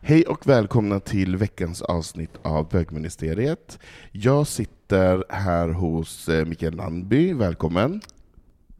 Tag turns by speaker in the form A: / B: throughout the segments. A: Hej och välkomna till veckans avsnitt av Bögministeriet. Jag sitter här hos eh, Mikael Landby, välkommen.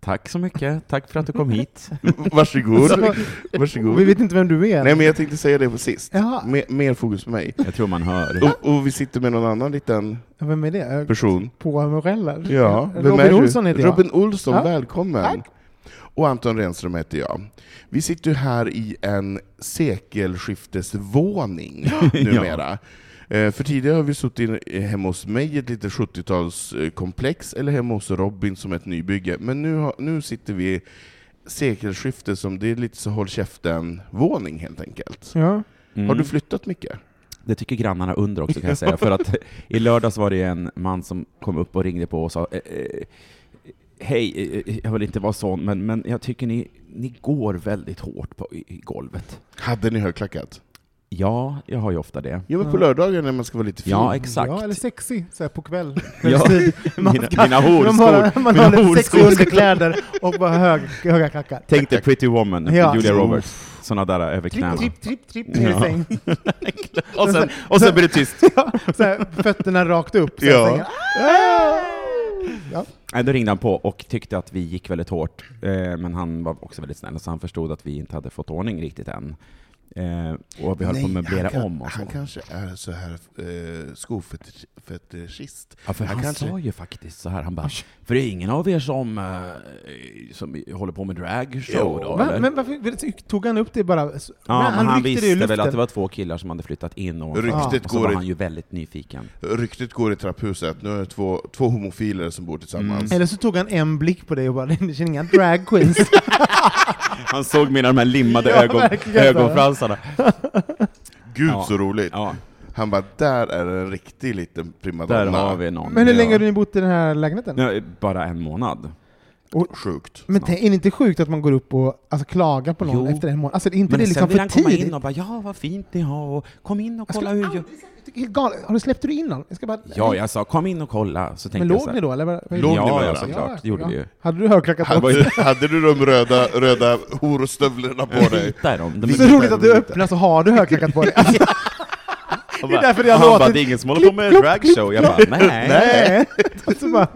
B: Tack så mycket, tack för att du kom hit.
A: Varsågod.
C: Så-
A: Varsågod.
C: Vi vet inte vem du är.
A: Nej men jag tänkte säga det på sist.
C: Jaha.
A: Mer, mer fokus på mig.
B: Jag tror man hör.
A: Och, och vi sitter med någon annan liten
C: Ja, Vem är det? Eh,
A: person.
C: På Moreller? Eh,
A: Ja, vem
C: Robin
A: är du?
C: Olsson heter jag.
A: Robin Olsson,
C: Ja.
A: välkommen.
C: Tack.
A: Och Anton Renström heter jag. Vi sitter ju här i en sekelskiftesvåning numera. Eh, För tidigare har vi suttit i- hemma hos mig i ett litet 70-talskomplex, eller hemma hos Robin som ett nybygge. Men nu, har, nu sitter vi i sekelskifte som det är lite så håll käften-våning helt enkelt.
C: Ja.
B: Mm.
A: Har du flyttat mycket?
B: Det tycker grannarna under också kan jag säga, för att i lördags var det en man som kom upp och ringde på och sa eh, eh, Hej, eh, jag vill inte vara sån, men, men jag tycker ni, ni går väldigt hårt på, i, i golvet.
A: Hade ni högklackat?
B: Ja, jag har ju ofta det.
A: Ja men på lördagar när man ska vara lite fin.
B: Ja, exakt.
C: Ja, eller sexig, så här på kväll.
B: Ja, mina, mina
C: man har,
B: horskor.
C: man
B: Mina
C: har lite sexiga
B: horskor.
C: underkläder och bara hög, höga klackar.
B: Tänk dig Pretty Woman,
C: Ja.
B: Julia Roberts. Såna där över knäna.
C: Tripp, tripp, tripp, tripp ner i
B: Ja.
C: säng.
B: Och sen, och sen blir det tyst.
C: Ja, så här, fötterna rakt upp. Så
A: Ja.
C: här, sängen. ja.
B: Nej, då ringde han på och tyckte att vi gick väldigt hårt, eh, men han var också väldigt snäll, så han förstod att vi inte hade fått ordning riktigt än. Eh, och vi höll på att möblera
A: han kan-
B: om och så.
A: Han kanske är så här eh, skofetischist.
B: Ja, för han
A: kanske,
B: sa ju faktiskt så här, han bara, för det är ingen av er som, eh, som håller på med dragshow då,
C: Va,
B: eller?
C: men varför tog han upp det bara? så-
B: Ja,
C: Nej,
B: men han,
C: ryckte
B: visste
C: det i
B: väl
C: luften.
B: att det var två killar som hade flyttat in och,
A: Ryktet
B: och så
A: går
B: var
A: i-
B: han ju väldigt nyfiken.
A: Ryktet går i trapphuset, nu är det två, två homofiler som bor tillsammans.
B: Mm.
C: Eller så tog han en blick på dig och bara ”det känns inga drag queens”.
B: Han såg mina de här limmade
C: Ja, ögon- verkligen.
B: ögonfransarna.
A: Gud
B: Ja.
A: så roligt!
B: Ja,
A: Han bara, där är en riktig liten primadonna.
B: där har vi någon.
C: Men hur länge
B: Ja.
C: har ni bott i den här lägenheten?
B: Nej, bara en månad.
A: Sjukt.
C: Men tänk, är det inte sjukt att man går upp och alltså, klagar på någon
B: Jo.
C: efter en månad? Alltså, är inte
B: Men
C: det liksom
B: sen vill han
C: för
B: komma
C: tidigt?
B: in och bara ”ja, vad fint ni har” och ”kom in och
C: Jag
B: kolla
C: skulle
B: hur jag...”
C: aldrig säga- jag tycker det är helt galet. Har du släppt du in någon? Jag ska bara,
B: Ja, jag sa ”kom in och kolla”, så tänkte
C: men
B: jag
C: låg ni då eller? Vad- vad-
A: Låg ni med
B: Ja, ja,
A: varandra?
B: såklart. Det gjorde vi ju.
C: Hade du högklackat
B: Han var
C: också?
B: ju-
A: Hade du de röda, röda horostövlarna på dig?
B: Vita är de. de
C: Det är så roligt att du öppnar så har du högklackat på dig. Alltså,
B: Han
C: det är
B: bara-
C: därför jag
B: han
C: låter-
B: bara, det är ingen som håller på med dragshow. Jag bara, nej.
C: nej. Så bara,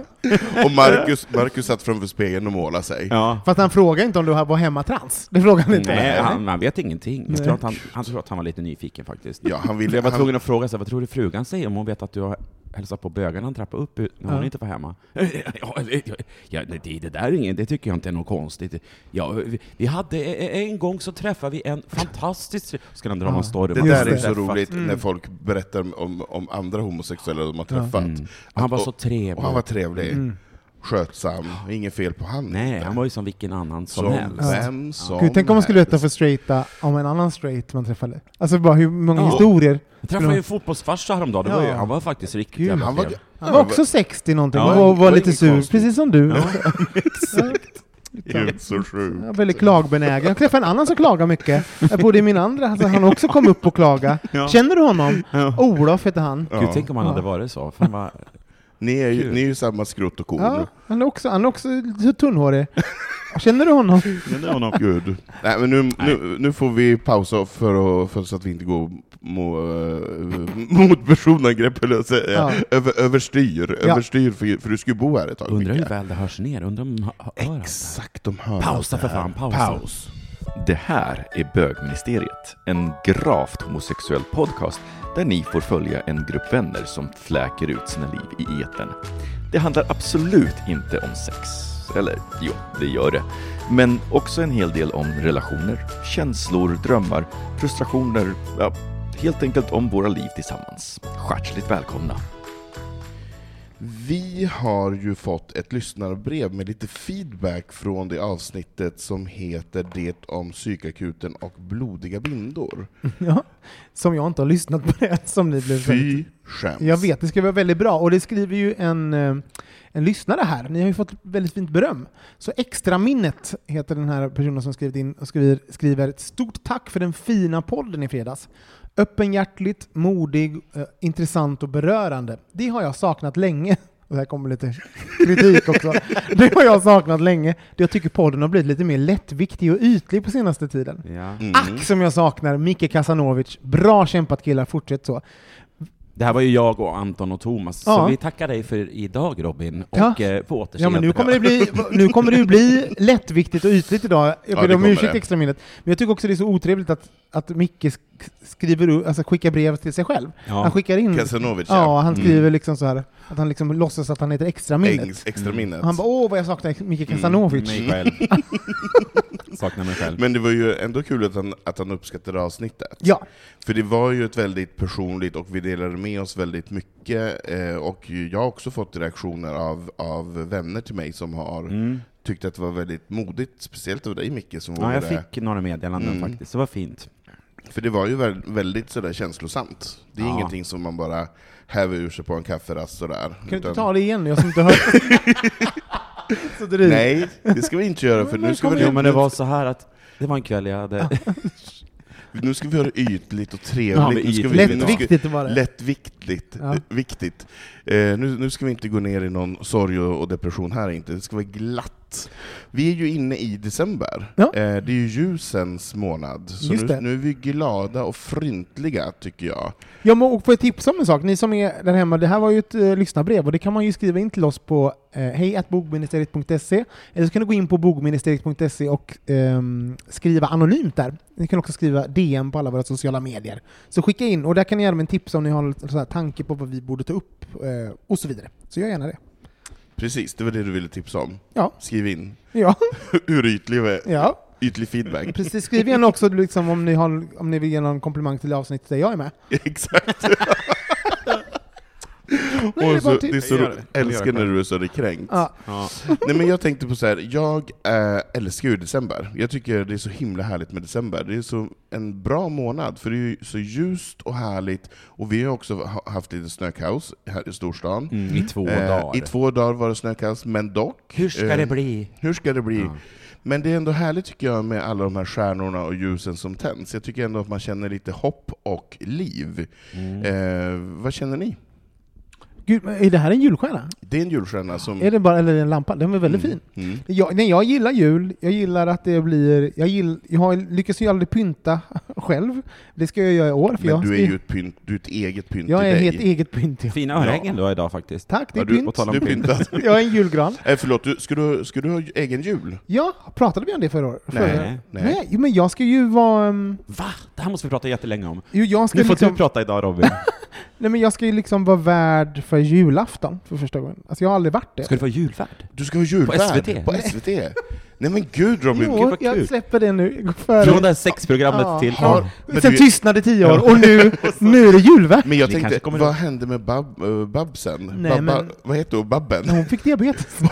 A: Och Marcus, Marcus satt framför spegeln och målade sig.
B: Ja.
C: fast han frågade inte om du var hemma trans. Det frågade han inte.
B: Nej, han, han vet ingenting. Jag tror att han, han tror att han var lite nyfiken faktiskt.
A: Ja, han ville-
B: För jag var
A: han-
B: tvungen att fråga så här, vad tror du frugan säger om hon vet att du har hälsat på bögarna en trappa upp ut- när hon inte var hemma? Ja, ja, ja, det, det där är inget, det tycker jag inte är något konstigt. Ja, vi, vi hade, e- en gång så träffade vi en fantastisk... Ska han dra någon story?
A: Det
B: om
A: där
B: att de
A: är så
B: träffat.
A: roligt, när folk berättar om, om andra homosexuella de har träffat.
B: Mm. Han var
A: Och-
B: så trevlig.
A: Och han var trevlig. Skötsam. Inget fel på han.
B: Nej, han var ju som vilken annan som,
A: som
B: helst.
A: vem som
C: Gud, tänk om man skulle
A: helst.
C: berätta för straighta om en annan straight man träffade. Alltså bara hur många
B: Ja.
C: historier.
B: Jag träffade ju en fotbollsfarsa häromdagen, det var ju, han var faktiskt riktigt
C: Gud,
B: jävla
A: Han var,
B: trevlig.
C: Han var också 60 någonting
B: Ja,
C: och
A: det var
C: var lite
A: inget
C: sur,
A: konstigt.
C: precis som du.
A: Gud, så sjuk.
C: Jag är väldigt klagbenägen. Jag träffade en annan som klagar mycket. Jag bodde i min andra, alltså, han också kom upp och klaga. Känner du honom? Olof heter han.
B: Gud, tänk om han hade varit så. Fan vad...
A: Ni är ju, ni är ju samma skrot och korn.
C: Ja, han är också, han är också så tunnhårig. Känner du honom?
B: Men det var nog-
A: Gud. Nej, men nu, Nu, nu får vi pausa för, att, för så att vi inte går mo, eh, mot personangrepp, eller säga.
C: Ja.
A: Över, överstyr,
C: Ja.
A: överstyr för, för du ska ju bo här ett tag.
B: Undrar hur
A: Micke.
B: väl det hörs ner, undrar om hör hör han det?
A: Exakt, de hör
B: Pausa
A: allt det
B: för fan,
A: här.
B: pausa.
A: Paus.
D: Det här är Bögministeriet, en gravt homosexuell podcast där ni får följa en grupp vänner som fläker ut sina liv i etern. Det handlar absolut inte om sex. Eller jo, det gör det. Men också en hel del om relationer, känslor, drömmar, frustrationer, ja, helt enkelt om våra liv tillsammans. Skärtsligt välkomna!
A: Vi har ju fått ett lyssnarbrev med lite feedback från det avsnittet som heter Det om psykakuten och blodiga bindor.
C: Ja. Som jag inte har lyssnat på det som ni blev
A: Fy skäms.
C: Jag vet, det ska vara väldigt bra. Och det skriver ju en, eh, en lyssnare här. Ni har ju fått väldigt fint beröm. Så extra minnet heter den här personen som skrivit in och skriver, skriver ett stort tack för den fina podden i fredags. Öppenhjärtligt, modig, eh, intressant och berörande. Det har jag saknat länge. Och här kommer lite kritik också. Det har jag saknat länge. Jag tycker podden har blivit lite mer lättviktig och ytlig på senaste tiden.
B: Ja.
C: Ack som jag saknar Micke Kasanovic. Bra kämpat killar, fortsätt så.
B: Det här var ju jag och Anton och Thomas,
C: Ja.
B: så vi tackar dig för idag Robin, och
C: Ja.
B: eh, på återseende.
C: Ja, men nu kommer, det bli, nu kommer det ju bli lättviktigt och ytligt idag. Jag ber
A: det
C: om
A: kommer
C: ursäkt
A: det.
C: extra minnet. Men jag tycker också det är så otrevligt att, att Micke sk- skriver, u- alltså skickar brev till sig själv.
B: Ja.
C: Han skickar in...
A: Kasanovic,
C: Ja,
A: ja. Mm.
C: han skriver liksom så här att han liksom låtsas att han heter extra minnet.
A: Engs, extra minnet.
C: Och Han bara åh vad jag saknar Micke Kasanovic.
B: Mig själv. Saknar mig själv.
A: Men det var ju ändå kul att han, att han uppskattade avsnittet.
C: Ja.
A: För det var ju ett väldigt personligt och vi delade med oss väldigt mycket. Eh, och jag har också fått reaktioner av, av vänner till mig som har tyckt att det var väldigt modigt, speciellt av dig Micke som
B: Mm. Ja,
A: vågade.
B: jag
C: Mm.
B: fick några meddelanden faktiskt, det var fint.
A: För det var ju väl, väldigt sådär känslosamt. Det är
B: Ja.
A: ingenting som man bara häver ur sig på en kafferast sådär.
C: Kan du
A: Utan-
C: inte ta det igen nu? Jag som inte hört. så dryg.
A: Nej, det ska vi inte göra för nu ska, vi,
B: Jo, men det var så här att det var en kväll jag hade...
A: nu ska vi göra det ytligt och
B: Ja, men
A: trevligt. nu ska vi,
B: ytligt.
A: nu ska-
C: Lättviktigt var det.
A: Lättviktigt.
C: Ja.
A: eh, Viktigt. Eh, nu, nu ska vi inte gå ner i någon sorg och, och depression här inte. Det ska vara glatt. Vi är ju inne i december.
C: Ja.
A: Eh, det är ju ljusens månad. Så
C: Just
A: nu,
C: det.
A: nu är vi glada och fryntliga, tycker jag.
C: Jag må få ett tips om en sak, ni som är där hemma. Det här var ju ett eh, lyssnarbrev och det kan man ju skriva in till oss på eh, hejatbogministeriet.se eller så kan du gå in på bogministeriet.se och ehm, skriva anonymt där. Ni kan också skriva DM på alla våra sociala medier. Så skicka in, och där kan ni även tipsa om ni har en sån här tanke på vad vi borde ta upp eh, och så vidare. Så gör gärna det.
A: Precis, det var det du ville tipsa om.
C: Ja,
A: Skriv in
C: ja,
A: hur ytlig, vi-
C: ja.
A: ytlig feedback.
C: Precis, skriv gärna också liksom, om, ni har, om ni vill ge någon komplimang till det avsnittet där jag är med.
A: Exakt.
C: det är
A: Och så,
C: bara till-
A: det är så,
B: Jag gör det. Jag gör
A: älskar
B: det
A: när du är så kränkt.
C: Ja.
A: Nej men jag tänkte på så här. jag eh, älskar ju december. Jag tycker det är så himla härligt med december. Det är så en bra månad, för det är ju så ljust och härligt. Och vi har också ha- haft lite snökaos här i storstan.
B: Mm. I två
A: Eh,
B: dagar.
A: I två dagar var det snökaos, men dock.
B: Hur ska
A: eh,
B: det bli?
A: Hur ska det bli? Men det är ändå härligt tycker jag med alla de här stjärnorna och ljusen som tänds. Jag tycker ändå att man känner lite hopp och liv.
B: Mm.
A: Eh, vad känner ni?
C: Gud, men är det här en julstjärna?
A: Det är en julstjärna som...
C: Är det bara, eller en lampa? Den var väldigt fin. Jag, nej, jag gillar jul. Jag gillar att det blir... Jag, gill, jag har, lyckas ju aldrig pynta själv. Det ska jag göra i år. För
A: men
C: jag,
A: du är
C: ska-
A: ju ett, pynt, du är ett eget pynt
C: jag
A: till
C: är
A: dig.
C: helt eget pynt. ja.
B: Fina örhängen du har idag faktiskt.
C: Tack, det är
A: Ja, du,
C: pynt.
B: tala om
A: du är
B: pynt.
A: pyntad.
C: Jag är en julgran.
A: Eh, förlåt, du, ska, du, ska du ha egen jul?
C: Ja, pratade vi om det förra året? Förra-
B: nej.
C: nej. Men jag ska ju vara... um,
B: Va? Det här måste vi prata jättelänge om.
C: Jo, jag ska
B: Nu får
C: liksom,
B: du prata idag Robin.
C: nej, men jag ska ju liksom vara värd för julafton för första gången. Alltså jag har aldrig varit det.
B: Ska du vara julvärd?
A: Du ska vara julvärd
B: SVT?
A: På SVT? Nej men gud Robin!
C: Jo,
A: gud,
B: vad kul.
C: jag släpper det nu. Jag går före.
B: Från det här sexprogrammet
C: Ja.
B: till...
A: har- men
C: Sen
A: du-
C: tystnade i tio år och nu, nu är det julvärd.
A: Men jag
B: Ni kanske
A: tänkte,
B: kommer-
A: vad hände med bab, eh, Babsen?
C: Nej,
A: Babba,
C: men-
A: Vad heter hon? Babben?
C: Hon fick diabetes.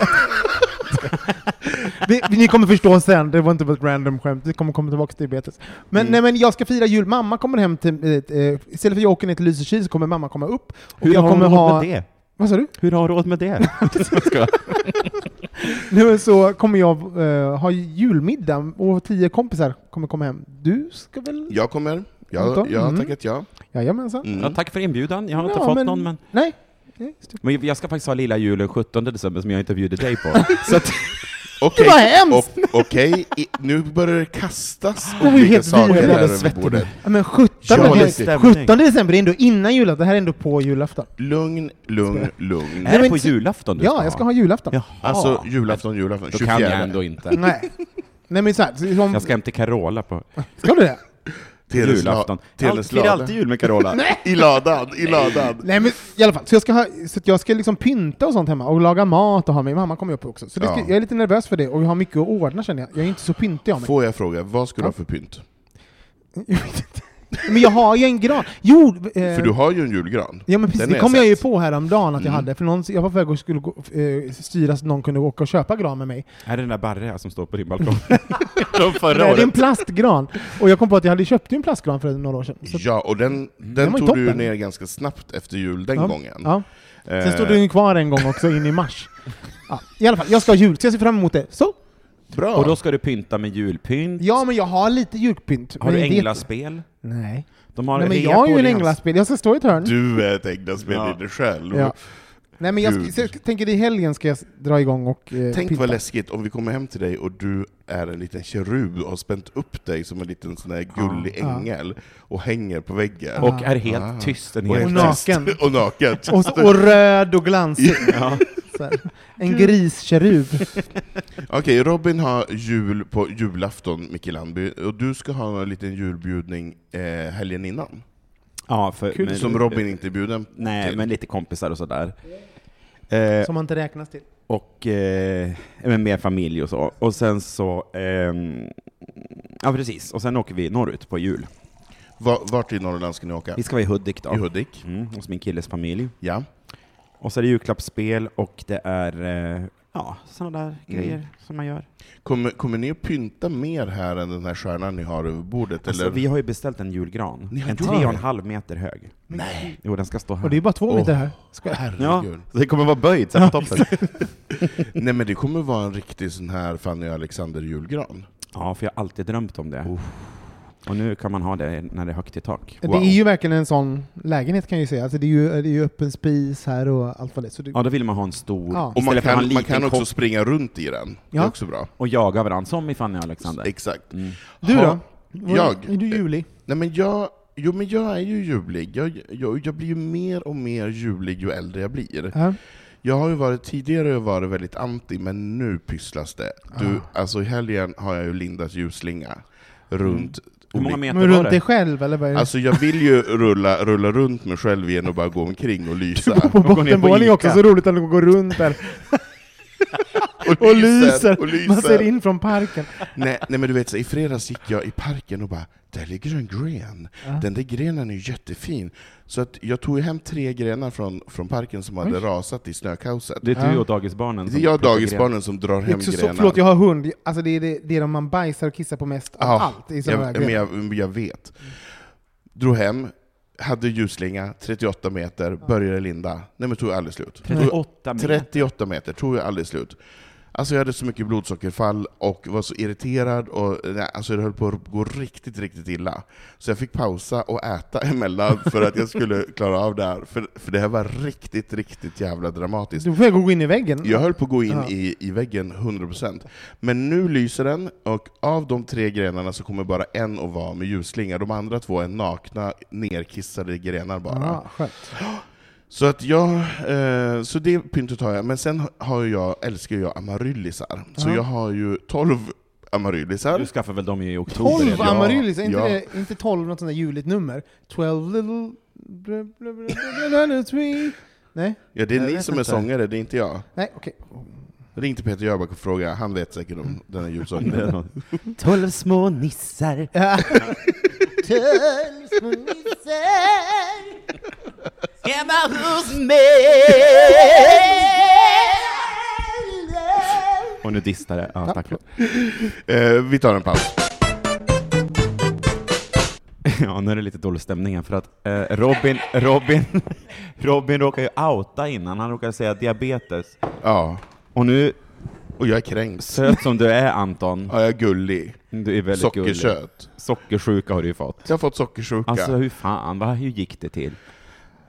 C: Vi, ni kommer förstå sen, det var inte bara ett random skämt. Det kommer komma tillbaka till diabetes. Men,
B: Mm.
C: nej, men jag ska fira jul. Mamma kommer hem till... Eh, eh, istället för att jag åker ner till Lysekil så kommer mamma komma upp. Och
B: Hur
C: jag
B: har hon
C: kommer
B: råd med det?
C: Vad sa du?
B: Hur har hon råd med det? Ska jag-
C: Nej, men så kommer jag eh, ha julmiddag och tio kompisar kommer komma hem. Du ska väl...
A: Jag kommer. Jag,
C: Anton?
A: jag har
C: Mm.
A: tackat ja.
C: Jajamensan. Mm.
B: ja, tack för inbjudan, jag har inte fått någon men...
C: Nej. Nej, just det.
B: Men jag ska faktiskt ha lilla julen 17 december som jag inte bjuder dig på. Så att,
A: Okej,
C: Det var hemskt!
A: o- Okej, i- nu börjar det kastas
C: här är ju
A: olika
C: helt
A: saker
C: vidrigt.
A: här
C: Jag
A: över bordet.
C: Ja, men 17,
A: Ja, det är
C: december,
B: stämning.
C: 17 december, det är ändå innan julafton. Det här är ändå på julafton.
A: Lugn, lugn, lugn.
B: Är det
C: men
B: på
C: inte-
B: julafton du
C: Ja, jag ska ha julafton.
B: Jaha.
A: Alltså, julafton, julafton.
B: Då kan jag
A: 24.
B: ändå inte.
C: Nej. Nej men såhär, så, om-
B: Jag ska hem till Carola på
C: ska du det?
A: Teles la-
B: julafton.
A: Teles
B: Allt firar
A: lada.
B: alltid jul med Carola.
A: I ladan, i ladan.
C: Nej men i alla fall, så jag ska, ha, så att jag ska liksom pynta och sånt hemma och laga mat och ha mig. Mamma kommer ju upp också. Så det ska,
A: Ja.
C: jag är lite nervös för det och jag har mycket att ordna känner jag. Jag är inte så pyntig av mig.
A: Får jag fråga, vad ska du ha för pynt?
C: Jag vet inte. men jag har ju en gran. Jo! Eh,
A: För du har ju en julgran.
C: Ja men precis,
A: Den
C: det
A: har
C: kom jag ju
A: sett. Mm.
C: på häromdagen att jag hade, för någon, jag var på väg och skulle gå, eh, styra så att någon kunde åka och köpa gran med mig.
B: Är det den där Barre som står på din balkong?
D: Från förra
C: Nej, det är en
D: året.
C: plastgran. Och jag kom på att jag hade köpt ju en plastgran för några år sedan. Så att-
A: Ja, och den, den
C: Den var ju
A: tog du ju
C: toppen.
A: ner ganska snabbt efter jul den
C: ja,
A: gången.
C: Ja. Sen
A: Eh,
C: stod den ju kvar en gång också, in i mars. Ja, I alla fall, jag ska ha jul, så jag ser fram emot det. Så!
A: Bra!
B: Och då ska du pynta med julpynt?
C: Ja, men jag har lite julpynt.
B: Har
C: men
B: du
C: jag vet-
B: änglaspel?
C: Nej.
B: De har
C: Nej, men
B: rep
C: jag har ju
B: och
C: en
B: det är hans-
C: änglaspel. Jag ska stå i ett hörn.
A: Du eh, är ett änglaspel i dig själv.
C: Ja. Nej, men jag, ska,
A: Gud.
C: så jag tänker i helgen ska jag s- dra igång och eh,
A: Tänk
C: pynta.
A: vad läskigt om vi kommer hem till dig och du är en liten kerub och har spänt upp dig som en liten sån här gullig ängel och hänger på väggen.
B: Och
C: Ah.
B: är helt tyst en
A: Och
B: hel
A: helt
B: kväll.
A: tyst.
C: naken.
A: och naken.
C: Och, så, och röd och glansig. Så här. En griskerub.
A: Okej, Robin har jul på julafton, Micke Landby, och du ska ha en liten julbjudning eh, helgen innan.
B: Ja, för, men,
A: som Robin inte är bjuden
B: Nej,
A: till.
B: men lite kompisar och sådär. Eh,
C: Som man inte räknas till.
B: och eh, men mer familj och så. Och sen så... ehm, ja, precis. Och sen åker vi norrut på jul.
A: Va- Vart i Norrland ska ni åka?
B: Vi ska vara i Hudik då.
A: I Hudik?
B: Mm, hos min killes familj.
A: Ja.
B: Och så är det julklappsspel och det är eh, ja, sådana
A: Mm.
B: där grejer som man gör.
A: Kommer, kommer ni att pynta mer här än den här stjärnan ni har över bordet?
B: Alltså,
A: eller?
B: vi har ju beställt en julgran.
A: Ni har
B: En
A: gjort
B: tre och en
A: det?
B: halv meter hög.
A: Nej!
B: Jo, den ska stå
C: Och det är
B: här.
C: bara två meter här.
B: Ja.
A: Herregud.
D: Så det kommer vara böjt så här på toppen.
A: Nej men det kommer vara en riktig sån här Fanny Alexander-julgran.
B: Ja, för jag har alltid drömt om det. Och nu kan man ha det när det är högt i tak.
A: Wow.
C: Det är ju verkligen en sån lägenhet kan jag ju säga. Alltså det, är ju, det är ju öppen spis här och allt vad det är. Så det,
B: Ja, då vill man ha en stor
C: Ja.
A: Och man
B: istället för att ha en
A: kan, man
B: liten
A: kan också
B: kopp
A: springa runt i den. Det är
C: Ja.
A: också bra.
B: och jaga varandra, som i Fanny och Alexander.
A: Exakt.
B: Mm.
C: du
A: Ha-
C: då? Vad-
A: jag?
C: Är du julig?
A: Nej men jag, jo men jag är ju julig. Jag, jag, jag blir ju mer och mer julig ju äldre jag blir.
C: Ja.
A: Jag har ju varit, tidigare har jag varit väldigt anti, men nu pysslas det. Du, alltså i helgen har jag ju lindat ljusslinga runt
B: Mm. Hur många
A: olika-
B: meter
C: Men
B: var
C: runt dig
B: det?
C: själv eller vad är det?
A: Alltså jag vill ju rulla, rulla runt mig själv igen och bara gå omkring och lysa.
C: på
D: går ner på
C: bottenvåning
D: Ica.
C: också, så roligt att de går runt där och lyser.
A: och
C: Man ser in från parken.
A: Nej, nej men du vet, så, i fredags gick jag i parken och bara ”Där ligger en gren, den där grenen är ju jättefin”. Så att jag tog ju hem tre grenar från, från parken som hade rasat i snökaoset.
B: Det är du och dagisbarnen.
A: Det är
B: som
A: jag och
B: plockar
A: dagisbarnen som drar hem
C: Så, så,
A: grenar.
C: förlåt, jag har hund. Alltså det är det, det är de man bajsar och kissar på mest av
A: Ja,
C: allt. I såna
A: jag,
C: här
A: men
C: grejer.
A: jag, men jag vet. Drog hem, hade ljusslinga, 38 meter, började linda. Nej men tog aldrig slut.
B: grenar. 38 meter.
A: 38 meter, tog jag aldrig slut. Alltså jag hade så mycket blodsockerfall och var så irriterad och nej, alltså det höll på att gå riktigt, riktigt illa. Så jag fick pausa och äta emellan för att jag skulle klara av det här. För, för det här var riktigt, riktigt jävla dramatiskt.
C: Du får gå in i väggen.
A: Jag höll på att gå in
C: Ja.
A: i, i väggen 100%. Men nu lyser den, och av de tre grenarna så kommer bara en att vara med ljusslinga. De andra två är nakna, nerkissade grenar bara.
B: Ah,
C: Ja, skönt.
A: Så att jag, eh, så det pyntet har jag. Men sen har ju jag, älskar ju jag amaryllisar. Så jag har ju 12 amaryllisar.
B: Du skaffar väl dem ju i oktober?
C: 12
B: eller?
A: Ja,
C: amaryllis, är inte,
A: ja.
C: det, inte 12 något sånt där juligt nummer? 12 little... bla, bla, bla, bla, bla, bla, tree. Nej,
A: Ja, det är
B: Jag
A: ni
B: vet
A: som är
B: inte.
A: sångare, det är inte jag.
C: nej, okej.
A: Ring till Peter Jöback och fråga, han vet säkert om den här julsången.
B: 12 små nissar.
E: Hemma hos mig
B: Och nu distar det. Ja, tack.
A: eh, vi tar en paus.
B: Ja, nu är det lite dålig stämning här, för att eh, Robin, Robin, Robin råkar ju outa innan. Han råkar säga diabetes.
A: Ja.
B: Och nu,
A: Och jag är kränkt.
B: söt som du är Anton,
A: Ja, jag är gullig.
B: du är väldigt gullig.
A: Sockerkött.
B: Sockersjuka har du ju fått.
A: Jag har fått sockersjuka.
B: Alltså hur fan, vad, hur gick det till?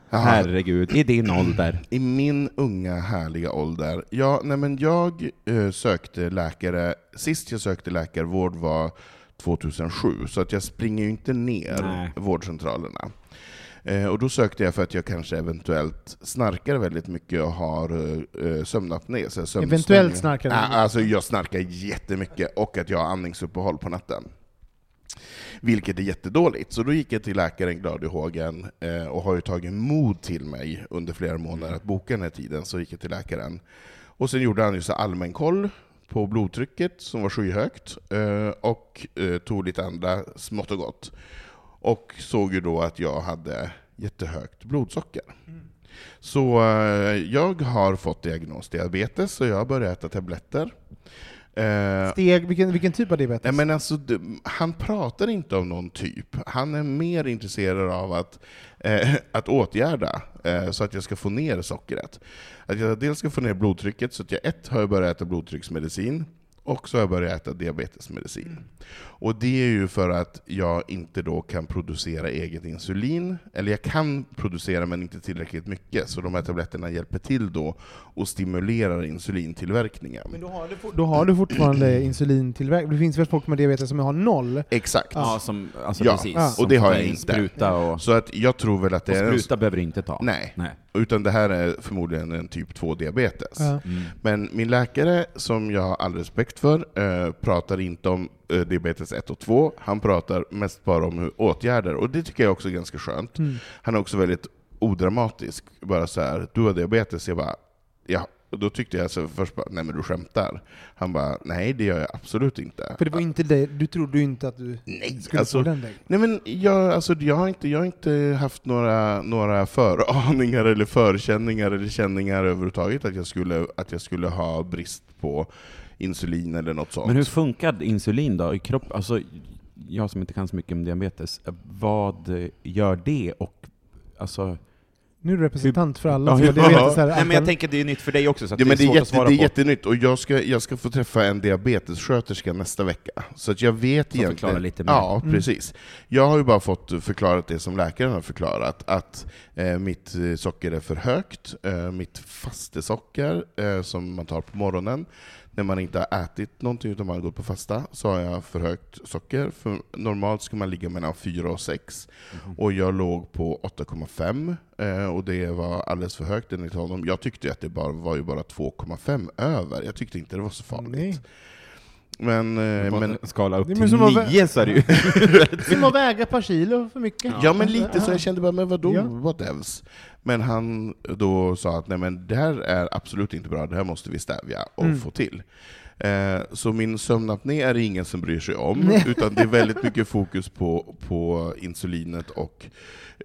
A: Jaha.
B: Herregud, i din ålder.
A: I min unga härliga ålder. Ja, nej men jag eh, sökte läkare, sist jag sökte läkarvård var 2007, så att jag springer ju inte ner
B: Nej.
A: vårdcentralerna. Eh, och då sökte jag för att jag kanske eventuellt snarkar väldigt mycket och har eh, sömnapné. så här sömnsnö-
C: Eventuellt snarkar du?
A: Ah, Alltså jag snarkar jättemycket och att jag har andningsuppehåll på natten. Vilket är jättedåligt. Så då gick jag till läkaren glad i hågen eh, och har ju tagit mod till mig under flera månader att boka den här tiden. Så gick jag till läkaren. Och sen gjorde han ju så allmän koll på blodtrycket som var skyhögt eh, och eh, tog lite andra smått och gott. Och såg ju då att jag hade jättehögt blodsocker. Så eh, jag har fått diagnos diabetes så jag har börjat äta tabletter. Eh,
C: Steg, vilken, vilken typ av diabetes?
A: Nej, men alltså, du- han pratar inte om någon typ. Han är mer intresserad av att, eh, att åtgärda eh, så att jag ska få ner sockret. Att jag dels ska få ner blodtrycket, så att jag ett har jag börjat äta blodtrycksmedicin, och så har jag börjat äta diabetesmedicin. Och det är ju för att jag inte då kan producera eget insulin, eller jag kan producera men inte tillräckligt mycket, så de här tabletterna hjälper till då och stimulerar insulintillverkningen.
C: Men då, har du, for- då har du fortfarande insulintillverkning? Det finns väl folk med diabetes som har noll?
A: Exakt.
B: Ja, som, alltså
A: Ja,
B: precis.
A: och
B: som
A: det har jag
B: en
A: inte.
B: Spruta och, och
A: Så att jag tror väl att det är... en-
B: spruta behöver du inte ta.
A: Nej.
B: Nej.
A: Utan det här är förmodligen en typ 2-diabetes.
C: Ja.
A: Men min läkare, som jag har all respekt för, eh, pratar inte om eh, diabetes 1 och 2. Han pratar mest bara om hur åtgärder, och det tycker jag också är ganska skönt.
C: Mm.
A: Han är också väldigt odramatisk. Bara så här, du har diabetes, jag bara, ja. Och då tyckte jag så först bara, nej men du skämtar. Han bara, nej det gör jag absolut inte.
C: För det var ju inte det, du trodde ju inte att du
A: Nej,
C: skulle
A: alltså-
C: få den vägen.
A: Nej men jag, alltså, jag, har inte, jag har inte haft några, några föraningar eller förkänningar eller känningar överhuvudtaget att jag skulle, att jag skulle ha brist på insulin eller något sånt.
B: Men hur funkar insulin då i kroppen? Alltså, jag som inte kan så mycket om diabetes, eh, vad eh, gör det och Alltså,
C: Nu är du representant för alla
B: Ja,
C: som
B: hur-
C: har diabetes
B: Nej,
C: här.
B: men
C: Anton.
B: jag tänker det är nytt för dig också, så att
A: Ja,
B: det,
A: men
B: är
A: det, är
B: svårt att
A: jätte,
B: svara
A: det är
B: på.
A: jättenytt, och jag ska, jag ska få träffa en diabetessköterska nästa vecka. Så att jag vet
B: Som
A: egentligen...
B: förklarar lite mer.
A: Ja, precis. Jag har ju bara fått förklarat det som läkaren har förklarat, att eh, mitt eh, socker är för högt, eh, mitt fastesocker eh, som man tar på morgonen, när man inte har ätit någonting utan man har gått på fasta, så har jag för högt socker. För normalt ska man ligga mellan 4 och 6, och jag låg på 8,5, eh, och det var alldeles för högt enligt honom. Jag tyckte ju att det bara, var ju bara 2,5 över, jag tyckte inte det var så farligt.
C: Nej.
A: Men, eh, men,
B: skala upp
C: Det är
B: till
C: men som att vä-
B: nio så är det ju...
C: Som att väga ett par kilo för mycket.
A: Ja, men lite så. Jag kände bara, men vadå?
C: Ja.
A: Whatevs? Men han då sa att nej men det här är absolut inte bra, det här måste vi stävja och
C: Mm.
A: få till. Eh, så min sömnapné är det ingen som bryr sig om, utan det är väldigt mycket fokus på, på insulinet och,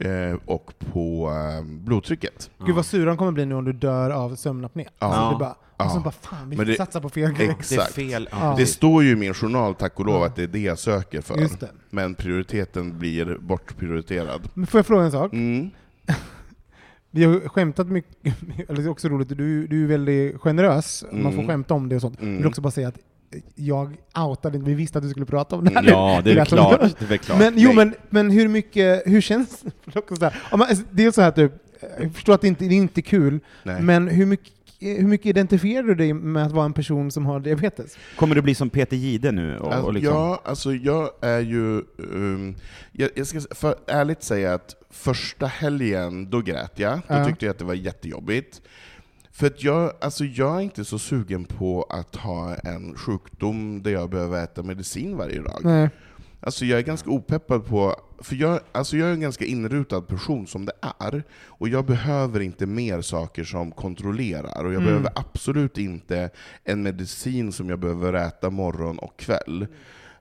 A: eh, och på eh, blodtrycket.
C: Gud vad sur han kommer bli nu om du dör av sömnapné. Alltså, det är bara, och sen bara fan, vi
A: Men det-
C: satsar på fel grej.
A: Exakt.
B: Det är fel. Ja,
A: Det
B: precis.
A: står ju i min journal, tack och lov, att det är det jag söker för.
C: Just det.
A: Men prioriteten blir bortprioriterad.
C: Men får jag fråga en sak?
A: Mm.
C: Vi har skämtat mycket, eller det är också roligt, du, du är väldigt generös, man
A: Mm.
C: får skämta om det och sånt. Jag vill också bara säga att jag outade inte, vi visste att du skulle prata om det här nu.
B: Ja, det är väl
C: lät som-
B: klart. Det är väl klart.
C: Men, jo,
B: Nej.
C: men, men hur mycket, hur känns det? också så här, om man, det är så här typ, jag förstår att det inte det är inte kul,
A: Nej.
C: men hur mycket, hur mycket identifierar du dig med att vara en person som har diabetes?
B: Kommer du bli som Peter Jihde nu? Och,
A: Alltså,
B: och liksom...
A: Ja, alltså jag är ju... ehm, jag, jag ska för, ärligt säga att första helgen, då grät jag. Då
C: Ja.
A: tyckte jag att det var jättejobbigt. För att jag, alltså jag är inte så sugen på att ha en sjukdom där jag behöver äta medicin varje dag.
C: Nej.
A: Alltså jag är ganska opeppad på, för jag, alltså jag är en ganska inrutad person som det är, och jag behöver inte mer saker som kontrollerar, och jag behöver absolut inte en medicin som jag behöver äta morgon och kväll.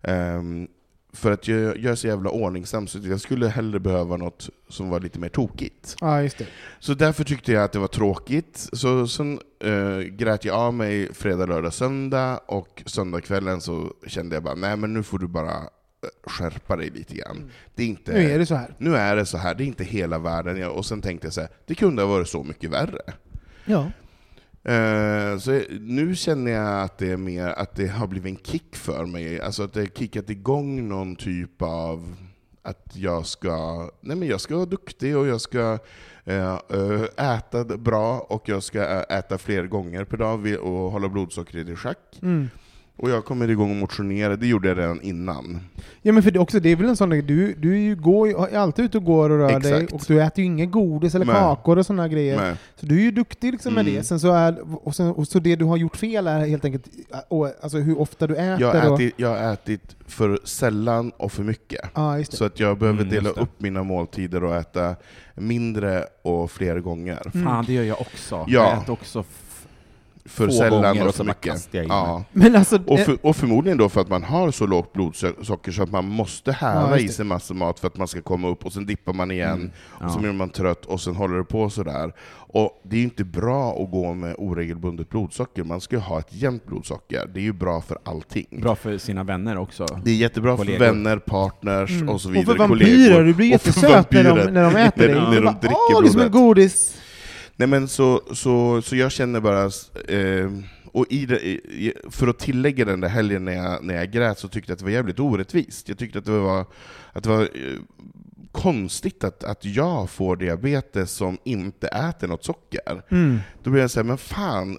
A: Ehm, för att jag, jag är så jävla ordningsam, så jag skulle hellre behöva något som var lite mer tokigt.
C: Ja, just det.
A: Så därför tyckte jag att det var tråkigt. Så sen eh, grät jag av mig fredag, lördag, söndag och söndagskvällen så kände jag bara nej men nu får du bara eh, skärpa dig lite grann. Det är inte,
C: Mm. Nu är det så här.
A: nu är det så här, det är inte hela världen. Jag- Och sen tänkte jag så här, det kunde ha varit så mycket värre.
C: Ja.
A: Eh, Så nu känner jag att det, är mer, att det har blivit en kick för mig, alltså att det har kickat igång någon typ av att jag ska, nej men jag ska vara duktig och jag ska eh, eh, äta d- bra och jag ska ä- äta fler gånger per dag vi- och hålla blodsockret i schack.
C: Mm.
A: Och jag kommer igång och motionera, det gjorde jag redan innan.
C: Ja men för det, också, det är väl en sån grej, du, du är ju går, ju- är alltid ute och går och rör dig,
A: Exakt.
C: och du äter ju inget godis eller
A: Nej.
C: kakor och sådana grejer.
A: Men,
C: Så du är ju duktig liksom med
A: Mm.
C: det. Sen så är, och, sen, och så det du har gjort fel är helt enkelt och, alltså hur ofta du äter.
A: jag, har
C: och,
A: ätit, jag har ätit för sällan och för mycket.
C: ja, just det.
A: Så att jag behöver
B: Mm,
A: dela
B: just det.
A: upp mina måltider och äta mindre och fler gånger.
C: Mm.
B: Fan, det gör jag också.
A: Ja.
B: Jag äter också f-
A: För
B: Få
A: sällan
B: gånger
A: och
B: och så
A: för
B: bara
A: mycket.
B: kastar jag i
A: Ja.
C: Men alltså,
A: Och,
C: eh,
A: för, och förmodligen då för att man har så lågt blodsocker så att man måste hära
C: Ja, just
A: i
C: det.
A: sig massor mat för att man ska komma upp, och sen dippar man igen,
B: Mm. Ja.
A: och sen blir man trött, och sen håller det på sådär. Och det är ju inte bra att gå med oregelbundet blodsocker, man ska ju ha ett jämnt blodsocker. Det är ju bra för allting.
B: Bra för sina vänner också.
A: Det är jättebra
B: Kollegor.
A: för vänner, partners och så
C: Mm. och för
A: vidare.
C: vampyrer, du blir
A: Och för
C: jättesöt när
A: vampyrer.
C: de, när de
A: När-
C: äter dig.
A: när
C: Du
A: de
C: bara,
A: dricker
C: Åh, det är som ett
A: blodet."
C: godis!
A: Nej men så, så, så jag känner bara, eh, och i det, i- för att tillägga den där helgen när jag, när jag grät så tyckte jag att det var jävligt orättvist. Jag tyckte att det var, att det var eh, konstigt att, att jag får diabetes som inte äter något socker.
C: Mm.
A: Då blir jag såhär, men fan,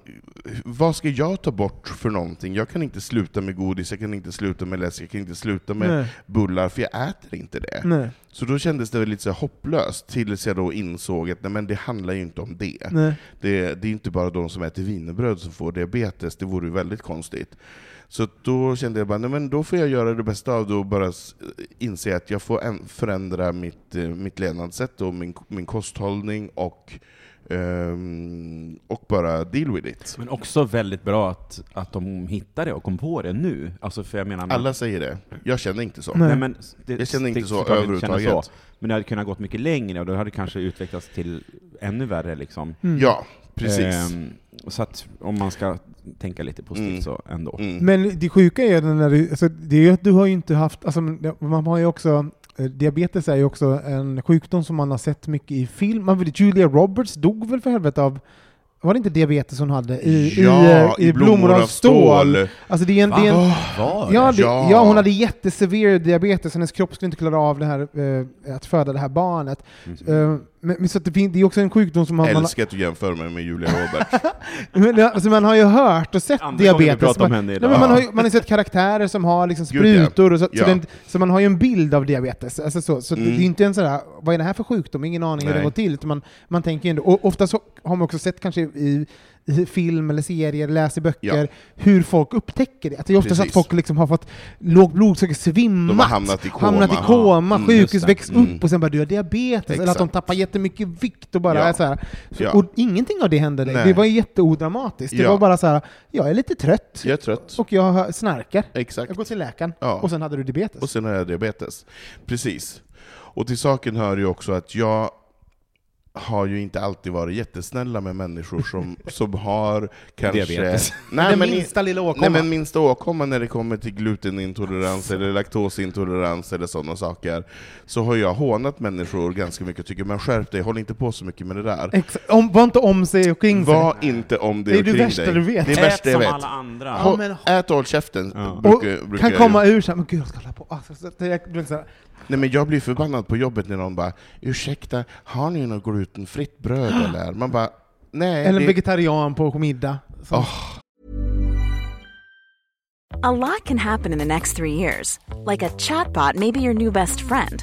A: vad ska jag ta bort för någonting? Jag kan inte sluta med godis, jag kan inte sluta med läsk, jag kan inte sluta med
C: Nej.
A: bullar, för jag äter inte det.
C: Nej,
A: Så då kändes det väl lite så här hopplöst, tills jag då insåg att nej, men det handlar ju inte om det.
C: nej.
A: Det, det är inte bara de som äter wienerbröd som får diabetes, det vore ju väldigt konstigt. Så då kände jag bara, nej men då får jag göra det bästa av det och bara s- eh, inse att jag får äm- förändra mitt, eh, mitt levnadssätt och min, min kosthållning och, ehm, och bara deal with it.
B: Men också väldigt bra att, att de hittade det och kom på det nu. Alltså, för jag menar...
A: Alla säger det, jag känner inte så.
C: Nej.
B: Nej, men det,
A: Jag känner inte
B: det-
A: så
B: såklart jag
A: överhuvudtaget.
B: känner så. Men det hade kunnat gått mycket längre och då hade det kanske utvecklats till ännu värre liksom.
A: Ja, precis.
B: Ehm, så att om man ska tänka lite positivt
A: Mm.
B: så ändå.
A: Mm.
C: Men det sjuka är ju när du, alltså, det är ju att du har ju inte haft, alltså, man har ju också, eh, diabetes är ju också en sjukdom som man har sett mycket i film. Man, vet, Julia Roberts dog väl för helvete av, var det inte diabetes hon hade? I, i, eh, i blommor av stål. Alltså det är en, det är en,
B: Var
C: Ja, det,
A: Ja.
C: ja. hon hade jättesever diabetes, hennes kropp skulle inte klara av det här, eh, att föda det här barnet. Eh, men, men så att det, fin- det är också en sjukdom som man, man,
A: Mm. Älskar att du jämför mig med Julia Roberts.
C: men, alltså, man har ju hört och sett
B: Andra gången vi
C: diabetes.
B: pratar om
C: Man,
B: henne
C: nej,
B: idag.
C: men man, har ju, man har ju sett karaktärer som har liksom
A: Gud, ja.
C: sprutor, och så,
A: Ja.
C: så, den, så man har ju en bild av diabetes. Alltså, så så det-
A: Mm.
C: det är inte en sådär, vad är det här för sjukdom? Ingen aning hur
A: Nej.
C: det går till. Utan man, man tänker ju ändå, och ofta så har man också sett kanske i, i film eller serier, läser böcker,
A: Ja.
C: hur folk upptäcker det. Att det är oftast
A: Precis.
C: att folk liksom har fått lågt blodsocker, svimmat,
A: De har hamnat i koma.
C: hamnat i koma,
A: Mm,
C: sjukhus,
B: just det.
C: växt
A: Mm.
C: upp och sen bara du har diabetes. Eller att de
A: Exakt.
C: tappar jättemycket vikt och bara
A: Ja.
C: är såhär. Så,
A: Ja.
C: Och ingenting av det hände dig.
A: Nej.
C: Det var ju jätteodramatiskt. Det
A: Ja.
C: var bara så här, jag är lite trött
A: Jag är trött.
C: och jag har- snarkar.
A: Exakt.
C: Jag går till läkaren.
A: Ja.
C: Och sen hade du diabetes.
A: Och sen har jag diabetes. Precis. Och till saken hör ju också att jag har ju inte alltid varit jättesnälla med människor som, som har kanske...
B: Diabetes.
A: Nej,
C: Den
A: men, i-
C: minsta lilla åkomma. Alltså.
A: nej, men minsta åkomma när det kommer till glutenintolerans eller laktosintolerans eller sådana saker, så har jag hånat människor ganska mycket och tycker men skärp dig, håll inte på så mycket med det där.
C: Exa- om, var inte om sig och kring sig.
A: Var inte om det,
C: Det är
A: och
C: det
A: kring
C: värsta
A: dig.
C: du vet.
A: Det är
B: Ät
A: värsta jag
B: som
A: vet.
B: alla andra.
C: Ja, men-
A: Ät och håll käften,
B: Ja.
A: brukar,
C: och
A: brukar
C: kan
A: jag
C: komma ur såhär, men gud jag ska hålla på. Alltså, så, så, jag, blir så här,
A: Nej men jag blir förbannad på jobbet när någon bara ”Ursäkta, har ni något glutenfritt bröd eller?” Man bara ”Nej”.
C: eller en
A: det- Ah,
C: vegetarian på middag. Så.
F: A lot can happen in the next three years. Like a chatbot may be your new best friend.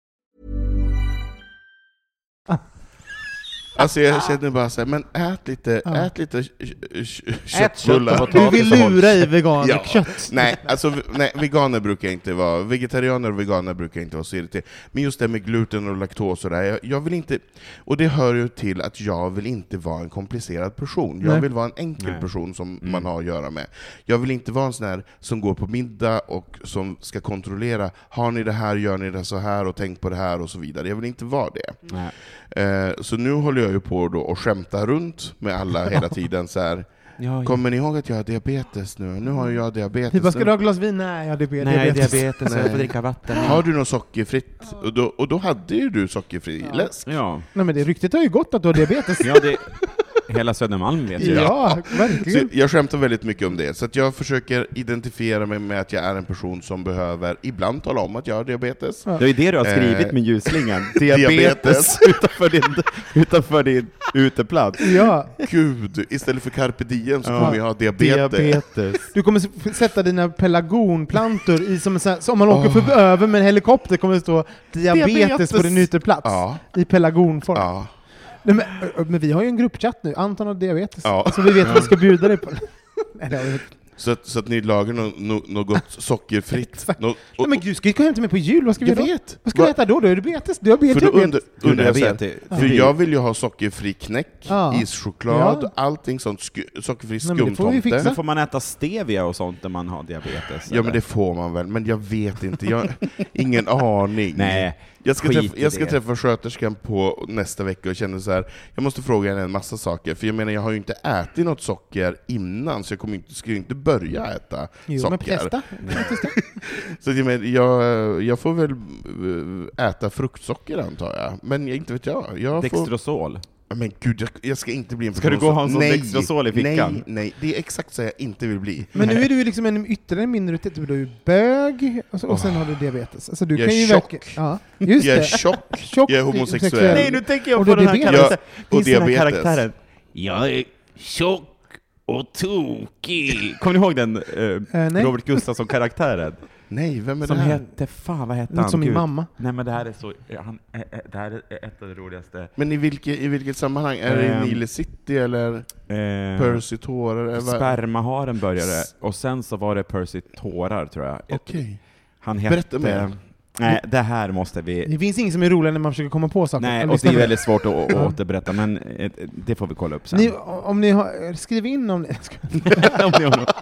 A: Alltså jag känner bara såhär, men ät lite, ät lite k- k- k-
B: kött
A: köttbullar.
B: och
C: Du vill
B: Ja,
C: lura i veganer
A: Ja.
C: kött.
A: Nej, alltså v- nej, veganer brukar jag inte vara, vegetarianer och veganer brukar jag inte vara så irriterad. Men just det med gluten och laktos och det här, jag, jag vill inte, och det hör ju till att jag vill inte vara en komplicerad person. Jag
C: Nej.
A: vill vara en enkel person som man har att göra med. Jag vill inte vara en sån här som går på middag och som ska kontrollera, har ni det här, gör ni det så här, och tänk på det här och så vidare. Jag vill inte vara det.
B: Nej.
A: Eh, Så nu håller jag ju på då och skämtar runt med alla hela tiden så här.
B: Ja,
A: Kommer ni ihåg att jag har diabetes nu? Nu har jag diabetes.
C: Du bara, Typ, ska
A: nu.
C: du ha glas vin? Nej, jag har diabetes.
B: Nej, jag har diabetes, så jag
A: Nej.
B: får dricka vatten.
A: Har du något sockerfritt? Och då, och då hade ju du sockerfri läsk.
B: Ja,
C: Nej men det ryktet har ju gått att du har diabetes.
B: ja det, hela Södermalm vet ju.
C: ja,
A: Så
C: verkligen.
A: jag skämtar väldigt mycket om det, så att jag försöker identifiera mig med att jag är en person som behöver ibland tala om att jag har diabetes.
B: Det är ju det du har
A: Eh,
B: skrivit med ljusslingan. Diabetes utanför din, utanför din uteplats.
C: Ja,
A: Gud, istället för carpe diem så kommer jag ha diabetes.
B: Diabetes.
C: du kommer s- sätta dina pelargonplantor i som en sån här, så om man åker förbi över med en helikopter kommer det stå diabetes,
B: Diabetes.
C: på din ytterplats.
A: Ja.
C: I pelargonform.
A: Ja.
C: Nej, men, ö, men vi har ju en gruppchatt nu, Anton har diabetes.
A: Ja.
C: Så vi vet vad vi ska bjuda dig på. Nej, det har vi inte.
A: Så, att, så att ni lagar no, no, något sockerfritt.
C: Exakt.
A: Nå- och-
C: Nej, men gud, ska vi gå hem till mig på jul? Vad ska vi
A: Jag
C: göra då?
A: vet.
C: Vad ska vi
A: Va-
C: äta då? Du har diabetes. Du har
A: För
C: diabetes.
A: då under, undrar jag
B: Gud,
A: så
B: jag
A: här,
B: vet det.
A: för
B: Det-
A: jag vill ju ha sockerfri knäck,
C: Ja.
A: ischoklad,
C: Ja.
A: allting sånt, sku- sockerfri
C: Nej, men det får vi
A: skumtomte.
C: fixa.
B: Men får man äta stevia och sånt när man har diabetes?
A: ja men
B: eller?
A: det får man väl, men jag vet inte, jag har ingen aning.
B: Nej,
A: jag ska,
B: skit
A: träffa,
B: i
A: jag ska
B: det.
A: träffa sköterskan på nästa vecka och känner så här. jag måste fråga henne en massa saker, för jag menar jag har ju inte ätit något socker innan, så jag kommer inte, ska ju inte börja äta
C: Jo, men
A: socker.
C: testa.
A: Så att jag, menar, jag, jag får väl eh, äta fruktsocker antar jag, men jag, inte vet jag. jag får...
B: Dextrosol.
A: Ja, Men gud, jag, jag ska inte bli en
B: Ska du gå och ha en sån Dextrosol i fickan?
A: Nej, nej, det är exakt så jag inte vill bli.
C: Men nu är du ju liksom en ytterligare minoritet. Du är ju bög och, så, och sen har du diabetes. Alltså, du
A: Ah. Jag
C: kan
A: är
C: ju
A: tjock.
C: verkligen- Ja, just
A: Jag är
C: det.
A: tjock, jag är homosexuell.
B: Nej, nu tänker jag
C: Och
B: på
C: det
B: den här
A: Ja, och
B: karaktären. Finns
C: är diabetes.
B: den här
A: diabetes.
B: karaktären? Jag är tjock och tokig. Kommer ni ihåg den eh,
C: Eh, nej.
B: Robert Gustafsson-karaktären?
A: Nej, vem är
B: Som
A: det här?
B: hette, fan vad hette
C: Låter
B: han?
C: som min
B: Gud.
C: mamma.
B: Nej men det här är så, han, eh, eh, det här är ett av de roligaste.
A: Men i vilket, i vilket sammanhang? Är det
B: Ehm,
A: i Nile City eller
B: Eh,
A: Percy Tårar? eller vad-
B: Spermaharen började, och sen så var det Percy Tårar tror jag.
A: Okej.
B: Han hette...
A: Berätta mer.
B: Nej, det här måste vi...
C: Det finns inget som är roligare när man försöker komma på saker.
B: Nej,
C: Jag
B: och det
C: lyssnar
B: är
C: på
B: väldigt svårt att, att återberätta, men eh, det får vi kolla upp sen.
C: Ni, om ni har, skriv in om ni...
B: Om ni har något.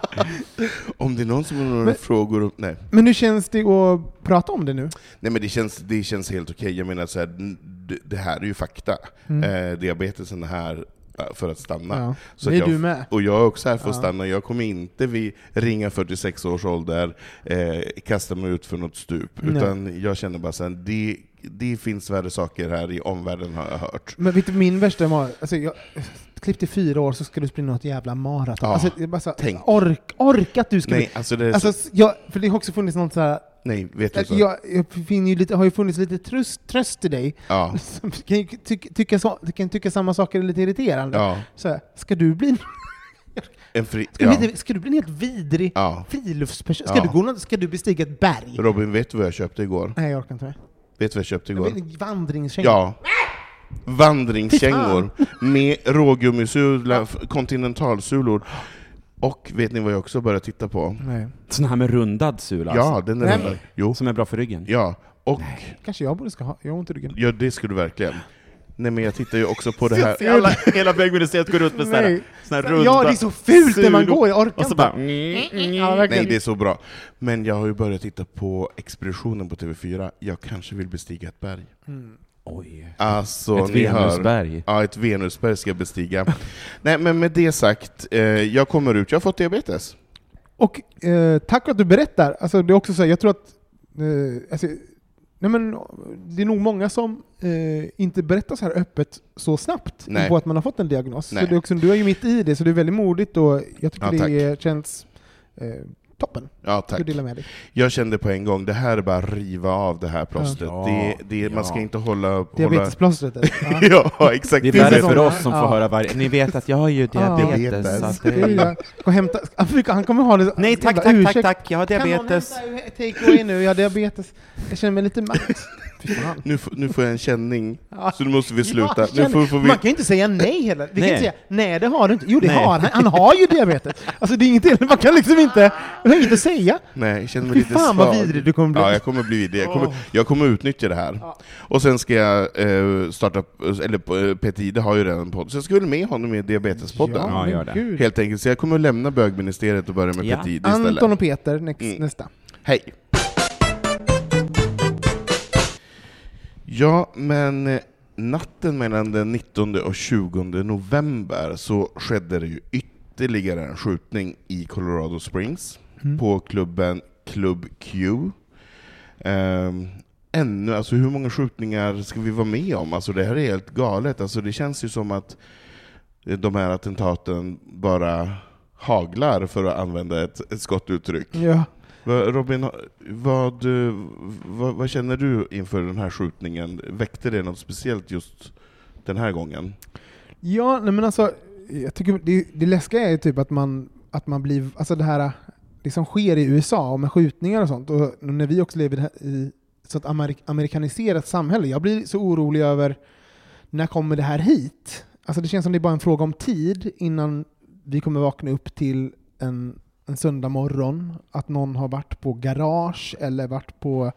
A: Om det är någon som har några
C: Men-
A: frågor om... Nej.
C: Men hur känns det att prata om det nu?
A: Nej men det känns, det känns helt okej. Jag menar så här, n- det, det här är ju fakta. Eh, diabetesen är här eh, för att stanna.
C: Mm. Ja.
A: Så
C: det
A: att
C: är
A: jag,
C: du med.
A: Och jag är också här för att stanna. Jag kommer inte vid ringa 46 års ålder eh, kasta mig ut för något stup.
C: Nej.
A: Utan jag känner bara så här, det, det finns värre saker här i omvärlden har jag hört.
C: Men vet du, min värsta var... Alltså, jag klippte fyra år så ska du springa något jävla maraton.
A: Ja,
C: Alltså, jag bara så,
A: tänk.
C: ork, ork att du ska...
A: Nej, alltså det är
C: alltså,
A: så,
C: jag, för det har också funnits något sådär...
A: nej, vet du så?
C: Jag, jag finner ju lite, har ju funnits lite tröst, tröst i dig.
A: ja,
C: Som kan ju tycka, tycka, så- kan tycka samma saker är lite irriterande.
A: ja,
C: Så här, ska du bli...
A: en fri,
C: Ska,
A: ja,
C: du bli, ska du bli en helt vidrig
A: ja.
C: friluftsperson? Ska,
A: Ja.
C: du gå något, ska du bestiga ett berg?
A: Robin, vet du vad jag köpte igår?
C: Nej, jag orkar inte med.
A: Vet du vad jag köpte igår?
C: Men Vandringskänga?
A: Ja. Vandringskängor med rågummisula, f- kontinentalsulor. Och vet ni vad jag också började titta på?
C: Nej.
B: Sån här med rundad sula
A: Ja, den är
C: Nej,
A: den.
C: men-
A: Jo.
B: alltså, som är bra för ryggen.
A: Ja, och
C: Kanske jag borde ska ha. Jag har ont i ryggen.
A: ja, det skulle du verkligen. Nej men jag tittar ju också på det här.
B: Alla, hela bögministeriet går runt med såna här,
C: Nej.
B: såna här runda
C: Ja, det är så fult när man
B: sulor.
C: går. Jag orkar
B: Och så
C: inte.
B: bara... Mm,
C: Ja,
A: alltså, Nej,
C: verkligen.
A: det är så bra. Men jag har ju börjat titta på Expeditionen på TV4. Jag kanske vill bestiga ett berg.
B: Oj.
A: Alltså,
B: Ett
A: ni hör.
B: Venusberg.
A: Ja, ett Venusberg ska jag bestiga. Nej, men med det sagt, eh, jag kommer ut. Jag har fått diabetes.
C: Och eh, tack att du berättar. Alltså, det är också så här, jag tror att... Eh, alltså, Nej, men det är nog många som eh, inte berättar så här öppet så snabbt
A: Nej.
C: på att man har fått en diagnos.
A: Nej.
C: Så det är också, du är ju mitt i det, så det är väldigt modigt och jag tycker
A: Ja, tack.
C: det är, känns eh, toppen.
A: Ja,
C: Jag
A: tack.
C: vill dela med dig.
A: Jag kände på en gång, det här är bara att riva av det här plåstret.
B: Ja.
A: det, det, Man ska
B: Ja.
A: inte hålla... hålla...
C: Diabetesplåstret. är det. Ja.
A: Ja, exakt.
B: Det är
A: Det är
B: värre
A: så-
B: för oss som
C: Ja.
B: får höra varje... Ni vet att jag har ju
C: Ja.
B: diabetes.
A: Diabetes.
B: så att
C: Det är ju
B: det...
C: jag. Och hämta, han, brukar- han kommer ha det
B: Nej tack,
C: jävla
B: tack, tack,
C: ursäkt.
B: tack, jag har diabetes.
C: Kan någon hämta take-away nu? Jag har diabetes. Jag känner mig lite matt. Fy fan.
A: Nu, f- nu får jag en känning,
C: Ja.
A: så nu måste vi sluta.
C: Ja,
A: Nu
C: känner-
A: får, får vi...
C: Man kan ju inte säga nej heller. Vi kan
B: Nej.
C: inte säga nej, det har du inte. Jo, det
B: Nej.
C: har han. Han har ju diabetes. Alltså, det är inget heller. Man kan liksom inte... Man kan inte säga.
A: Nej, jag känner mig
C: Fy
A: lite
C: fan,
A: svag.
C: vad vidrig du kommer bli.
A: Ja, jag kommer bli vidrig. Jag kommer, jag kommer utnyttja det här. Och sen ska jag eh, starta, eller eh, Peter Ide har ju redan en podd, så jag ska väl med honom i Diabetespodden.
B: Ja,
C: men
B: gör det.
C: gud.
A: Helt enkelt, så jag kommer att lämna bögministeriet och börja med
B: Ja.
A: Peter Ide istället.
C: Anton och Peter, next,
A: Mm.
C: nästa.
A: Hej! Ja, men eh, natten mellan den 19 och 20 november så skedde det ju ytterligare en skjutning i Colorado Springs på klubben Club Q. Ehm, ännu, alltså hur många skjutningar ska vi vara med om? Alltså det här är helt galet. Alltså det känns ju som att eh, de här attentaten bara haglar, för att använda ett, ett skottuttryck.
C: Ja.
A: Va- Robin, vad, eh, vad, vad känner du inför den här skjutningen? Väckte det något speciellt just den här gången?
C: Ja, nej men alltså, jag tycker det, det läskiga är ju typ att man, att man blir, alltså det här det som sker i USA och med skjutningar och sånt, och när vi också lever i det här- i ett sånt amerik- amerikaniserat samhälle, jag blir så orolig över när kommer det här hit? Alltså det känns som det är bara en fråga om tid innan vi kommer vakna upp till en, en söndag morgon, att någon har varit på garage eller varit på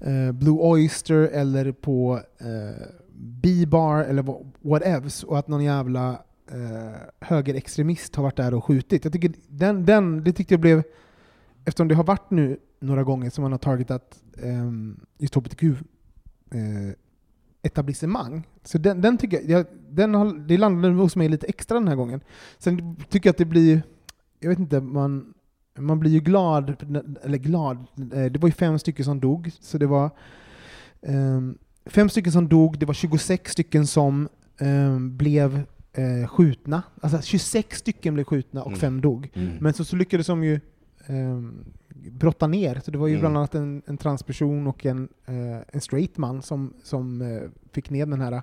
C: eh, Blue Oyster eller på eh, B-bar eller wha- whatevs och att någon jävla eh, högerextremist har varit där och skjutit. Jag tycker den, den, det tyckte jag blev, eftersom det har varit nu några gånger som man har targetat eh, just hbtq eh, etablissemang. Så den, den tycker jag, jag den har, det landade hos mig lite extra den här gången. Sen tycker jag att det blir, jag vet inte, man, man blir ju glad, eller glad, eh, det var ju fem stycken som dog, så det var ehm, fem stycken som dog, det var 26 stycken som ehm, blev eh, skjutna. Alltså 26 stycken blev skjutna och
A: Mm.
C: fem dog. Men så, så lyckades de ju ehm, brotta ner. Så det var ju
A: Mm.
C: bland annat en, en transperson och en, eh, en straight man som, som eh, fick ner den här eh,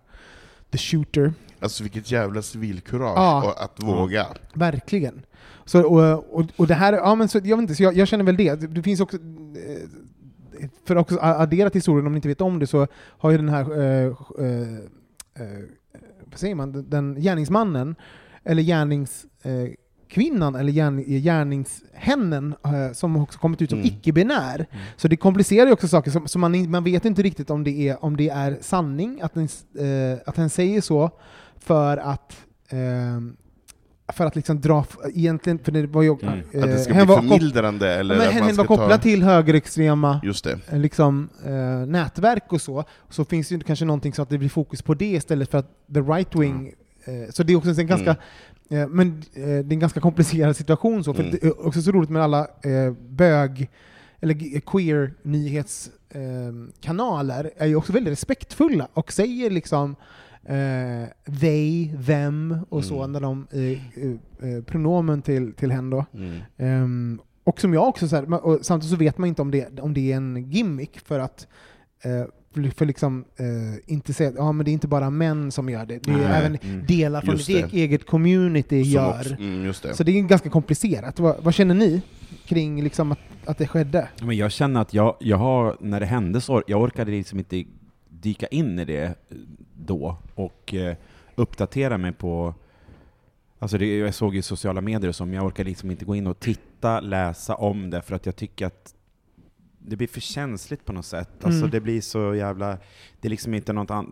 C: the shooter.
A: Alltså vilket jävla civilkurage
C: Ja.
A: och att våga.
C: Verkligen. Så, och, och, och det här, ja, men så, jag, vet inte, så jag, jag känner väl det. Det det finns också, eh, för att också addera till historien, om ni inte vet om det, så har ju den här, eh, eh, eh, vad säger man, Den- den gärningsmannen, eller gärningskvinnan, eh, kvinnan, eller gärning, gärningshennen, eh, som också kommit ut som
A: Mm.
C: icke-binär. Så det komplicerar ju också saker, som, som man, in- man vet inte riktigt om det är, om det är sanning, att den, s- eh, att den säger så, för att ehm, för att liksom dra, f- egentligen, för det var ju... eh,
B: Mm. Att
A: Att det ska
C: hen
A: bli
C: var kop-
A: förmildrande eller
C: Ja, men
A: att
C: hen
A: man
C: var
A: ska
C: kopplad
A: ta...
C: till högerextrema
A: Just det.
C: eh, liksom, eh, nätverk och så, så finns det ju kanske någonting så att det blir fokus på det istället för att the right wing... Eh, så det är också en ganska... Eh, men eh, det är en ganska komplicerad situation så, för
A: Mm.
C: det är också så roligt med alla eh, bög eller g- queer nyhetskanaler är ju också väldigt respektfulla och säger liksom eh, they, them och så
A: Mm.
C: när de eh, eh, pronomen till, till hen då.
A: Mm.
C: Ehm, och som jag också, så här, ma- och samtidigt så vet man inte om det, om det är en gimmick för att eh, för- för liksom, eh, inte säga att ah, men det är inte bara män som gör det, det är
A: Nej. Mm.
C: även delar från
A: Just
C: ditt e-
A: det.
C: eget community
A: Som
C: gör.
A: också- Mm, just det.
C: Så det är ganska komplicerat. Vad, vad känner ni kring liksom att, att det skedde?
B: Men jag känner att jag, jag har, när det hände så, jag orkade liksom inte dyka in i det eh, då och eh, uppdatera mig på, alltså det, jag såg ju sociala medier och så, men jag orkade liksom inte gå in och titta, läsa om det, för att jag tycker att det blir för känsligt på något sätt. Alltså
C: Mm.
B: det blir så jävla, det är liksom inte något annat,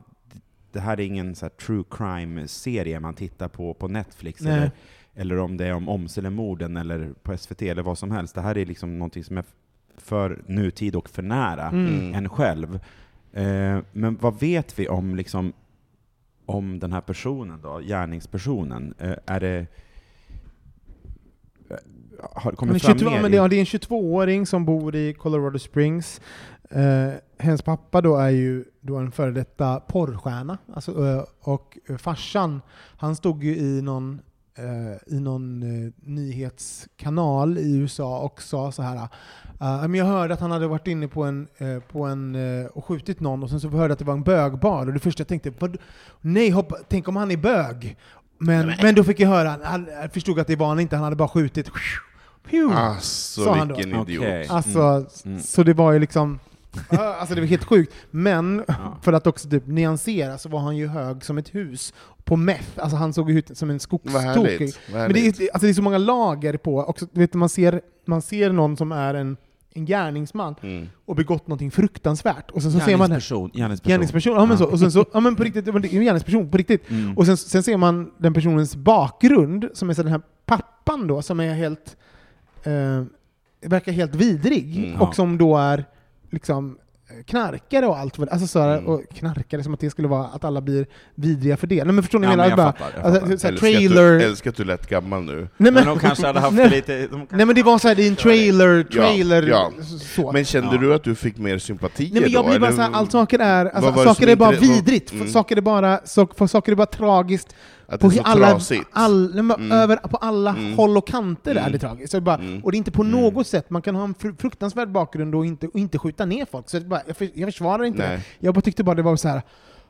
B: det här är ingen så här true crime-serie man tittar på på Netflix
C: Nej.
B: eller, eller om det är om Åmselemorden eller på SVT eller vad som helst. Det här är liksom någonting som är f- för nutid och för nära
A: Mm.
B: en själv. Eh, men vad vet vi om, liksom, om den här personen då, gärningspersonen? Eh, är det... eh, Har det
C: Men
B: kommit fram
C: 22,
B: mer
C: men
B: i-
C: det, ja, det är en 22-åring som bor i Colorado Springs. Eh, hennes pappa då är ju då en före detta porrstjärna. Alltså, eh, och eh, farsan, han stod ju i någon, eh, i någon eh, nyhetskanal i USA och sa så här. eh, men jag hörde att han hade varit inne på en, eh, på en eh, och skjutit någon och sen så hörde jag att det var en bögbar. Och det första jag tänkte, vad, nej hoppa, tänk om han är bög? Men, men då fick jag höra, han, han förstod att det var han inte, han hade bara skjutit. Pju! Sa
A: Alltså
C: han då.
A: vilken idiot.
B: Okej. Mm.
C: Alltså, så det var ju liksom... Ja, Alltså det var helt sjukt. Men för att också typ nyansera så var han ju hög som ett hus på meth. Alltså han såg ju ut som en
A: Vad härligt,
C: skogstokig.
A: vad
C: Men det är,
A: härligt.
C: alltså det är så många lager på. Också, du vet, man, ser, man ser någon som är en, en gärningsman
A: Mm.
C: och begått någonting fruktansvärt. Och sen så ser man den-
B: Gärningsperson. Gärningsperson.
C: Gärningsperson, ja men så. Och sen så, ja men på riktigt, det var en gärningsperson på riktigt.
B: Mm.
C: Och sen, sen ser man den personens bakgrund, som är så den här pappan då, som är helt, eh, verkar helt vidrig. och
B: Mm. ja.
C: som då är liksom eh, knarkare och allt vad alltså så
B: Mm.
C: här, och knarkare som att det skulle vara att alla blir vidriga för det. Nej men förstår ni
B: Ja,
C: vad
B: men
C: jag menar?
B: jag
C: Bara,
B: fattar, jag
C: alltså,
B: fattar.
C: så här,
A: Älskar att du-
C: trailer...
A: Älskar att du lät gammal nu.
C: Nej,
B: Men de kanske hade haft
C: nej,
B: lite... De kanske...
C: Nej men det var så här, det är en trailer,
A: Ja,
C: trailer,
A: ja.
C: så.
A: Men kände du att du fick mer sympati
C: Nej, men jag
A: då,
C: blir bara
A: eller?
C: såhär, allt saker är,
A: Vad
C: alltså,
A: var det
C: saker
A: som
C: är bara
A: inte- vad-
C: vidrigt,
A: Mm.
C: saker är bara, saker, saker är bara tragiskt.
A: Att
C: På
A: det är så
C: alla,
A: trasigt. Mm.
C: all, nej, men över, på alla håll och kanter är det tragiskt. Så det är bara, Och det är inte
A: Mm.
C: på något sätt, man kan ha en fru- fruktansvärd bakgrund och inte, och inte skjuta ner folk. Så det är bara, jag, för, jag försvarar inte
A: Nej.
C: det. Jag bara tyckte bara det var så här.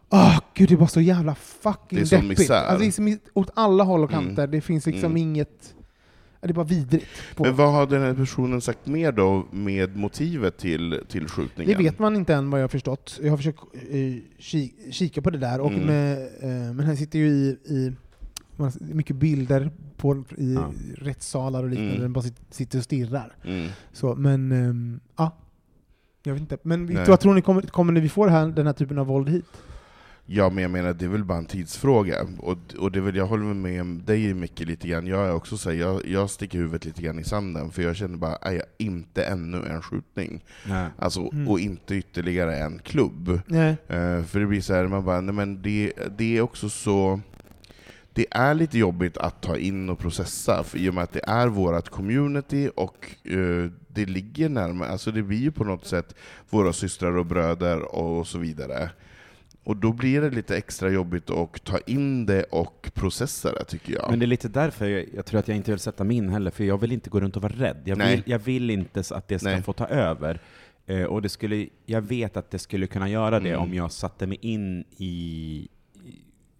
C: Åh gud, det var så jävla fucking
A: Det är sån
C: deppigt.
A: misär. Mm.
C: Alltså, det är som i- åt alla håll och kanter, det finns liksom inget... Det är bara vidrigt. På.
A: Men vad har den här personen sagt mer då, med motivet till, till skjutningen?
C: Det vet man inte än vad jag har förstått. Jag har försökt eh, ki kika på det där, och
A: Mm.
C: med, eh, men han sitter ju i, i man, mycket bilder på, i
B: Ja.
C: rättssalar och liknande,
A: Mm.
C: där den bara sit- sitter och stirrar.
A: Mm.
C: Så, men ehm, ja, jag vet inte. Men
A: Nej.
C: vad tror ni, kommer, kommer vi få det här, den här typen av våld hit?
A: Ja, men jag menar, det är väl bara en tidsfråga. Och, och det är väl, jag håller med dig Micke lite grann. Jag är också så här, jag, jag sticker huvudet lite grann i sanden, för jag känner bara, "Aj, inte ännu en skjutning.
B: Nej.
A: Alltså,
C: Mm.
A: och inte ytterligare en klubb.
C: Nej.
A: Eh, för det blir så här, man bara, nej men det, det är också så... Det är lite jobbigt att ta in och processa, för i och med att det är vårt community och eh, det ligger närmare, alltså det blir ju på något sätt våra systrar och bröder och så vidare. Och då blir det lite extra jobbigt att ta in det och processa det, tycker jag.
B: Men det är lite därför jag, jag tror att jag inte vill sätta min heller, för jag vill inte gå runt och vara rädd. Jag,
A: Nej.
B: vill, jag vill inte så att det ska
A: Nej.
B: få ta över. Eh, och det skulle, jag vet att det skulle kunna göra det
A: Mm.
B: om jag satte mig in i, i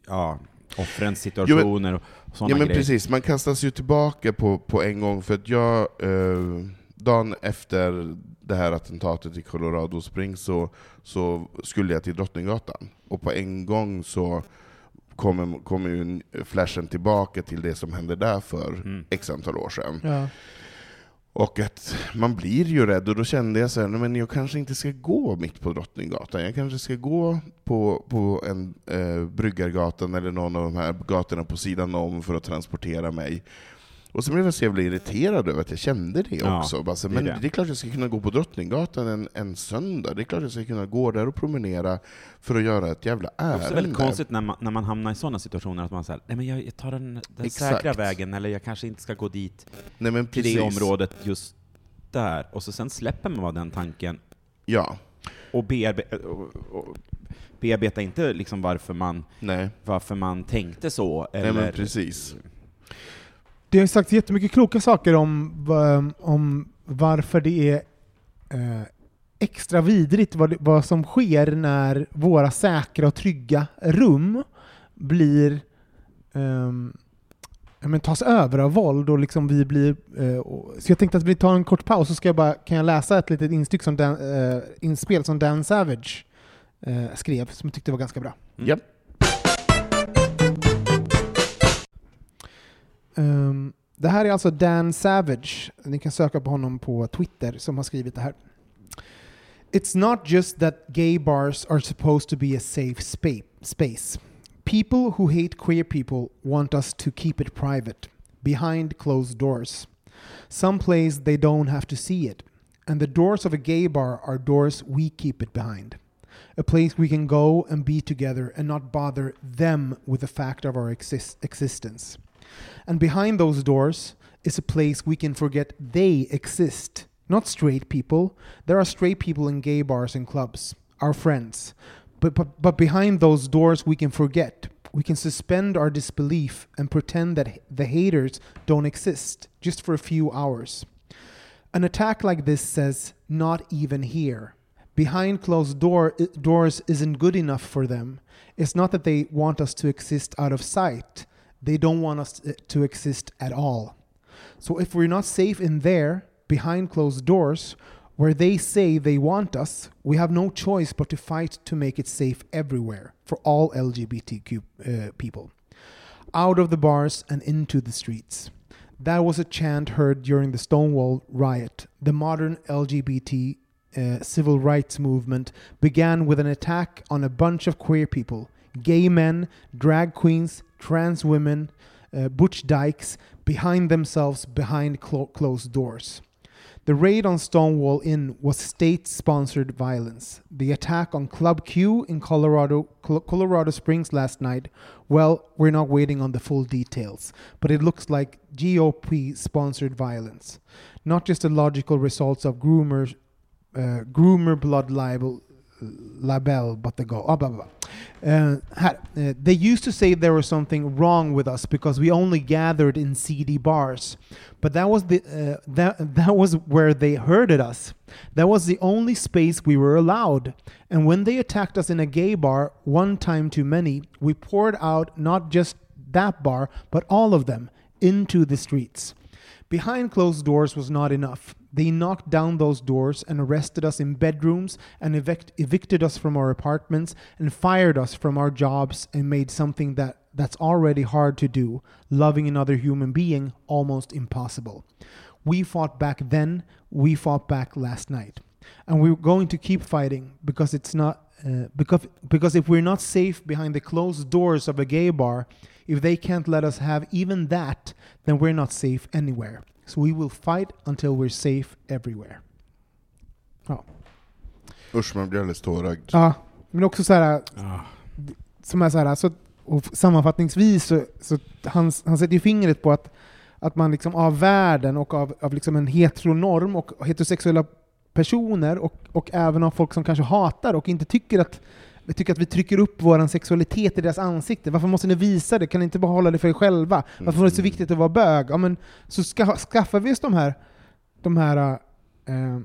B: ja, offrens situationer och sådana
A: Ja men
B: grejer.
A: precis, man kastas ju tillbaka på, på en gång, för att jag, eh, dagen efter det här attentatet i Colorado Springs så, så skulle jag till Drottninggatan, och på en gång så kommer kommer ju en- flashen tillbaka till det som hände där för x antal år sedan.
C: Ja.
A: Och att man blir ju rädd, och då kände jag så här, "Nej, men jag kanske inte ska gå mitt på Drottninggatan. Jag kanske ska gå på, på en eh, Bryggargatan eller någon av de här gatorna på sidan om för att transportera mig. Och så blev jag så jävla irriterad över att jag kände det
B: Ja,
A: också. Bara så,
B: det är
A: men
B: det.
A: det är klart jag ska kunna gå på Drottninggatan en, en söndag. Det är klart jag ska kunna gå där och promenera för att göra ett jävla
B: Det är
A: ärende.
B: också väldigt konstigt när man, när man hamnar i sådana situationer, att man säger nej men jag, jag tar den, den
A: Exakt.
B: säkra vägen, eller jag kanske inte ska gå dit,
A: Nej, men
B: till
A: precis.
B: det området just där. Och så sen släpper man bara den tanken
A: Ja.
B: och, bearbe- och, och bearbetar inte liksom varför man
A: Nej.
B: varför man tänkte så, eller...
A: Nej men precis.
C: Det har sagts jättemycket kloka saker om, va- om varför det är eh, extra vidrigt vad, det- vad som sker när våra säkra och trygga rum blir ehm, ja, men tas över av våld och liksom vi blir... Eh, och, så jag tänkte att vi tar en kort paus så ska jag bara, kan jag läsa ett litet instyck som Dan, eh, inspel som Dan Savage eh, skrev som jag tyckte var ganska bra.
A: Ja.
C: Ehm, det här är alltså Dan Savage. Ni kan söka på honom på Twitter som har skrivit det här. It's not just that gay bars are supposed to be a safe spa- space. People who hate queer people want us to keep it private, behind closed doors. Someplace they don't have to see it. And the doors of a gay bar are doors we keep it behind. A place we can go and be together and not bother them with the fact of our exis- existence. And behind those doors is a place we can forget they exist, Not straight people. There are straight people in gay bars and clubs, our friends. But, but, but behind those doors, we can forget. We can suspend our disbelief and pretend that h- the haters don't exist, just for a few hours. An attack like this says, not even here. Behind closed door, i- doors isn't good enough for them. It's not that they want us to exist out of sight, they don't want us to- to exist at all. So if we're not safe in there, behind closed doors, where they say they want us, we have no choice but to fight to make it safe everywhere for all LGBTQ uh, people out of the bars and into the streets. That was a chant heard during the Stonewall riot. The modern LGBT uh, civil rights movement began with an attack on a bunch of queer people gay men, drag queens, trans women, uh, butch dykes, behind themselves behind clo- closed doors. The raid on Stonewall Inn was state sponsored violence. The attack on Club Q in Colorado, Col- Colorado Springs last night, well, we're not waiting on the full details, but it looks like GOP sponsored violence. Not just the logical results of groomer, uh, groomer blood libel, label, but the go. ah, blah, blah, blah. Uh, had, uh, they used to say there was something wrong with us because we only gathered in seedy bars, but that was the uh, that that was where they herded us. That was the only space we were allowed. And when they attacked us in a gay bar, one time too many, we poured out not just that bar but all of them into the streets. Behind closed doors was not enough. They knocked down those doors and arrested us in bedrooms and evict- evicted us from our apartments and fired us from our jobs and made something that that's already hard to do, loving another human being, almost impossible. We fought back then, we fought back last night. And we're going to keep fighting because it's not uh, because because if we're not safe behind the closed doors of a gay bar, if they can't let us have even that, then we're not safe anywhere. So we will fight until we're safe everywhere. Oh. Ja.
A: Usch, man blir alldeles tårögd.
C: ja. Men också så här, som är så här, så, och sammanfattningsvis så, så han, han sätter ju fingret på att, att man liksom av världen och av, av liksom en heteronorm och heterosexuella personer och, och även av folk som kanske hatar och inte tycker att vi tycker att vi trycker upp vår sexualitet i deras ansikte. Varför måste ni visa det? Kan ni inte bara hålla det för er själva? Varför är det så viktigt att vara bög? Ja, men, så ska, skaffar vi oss de här, de här, eh,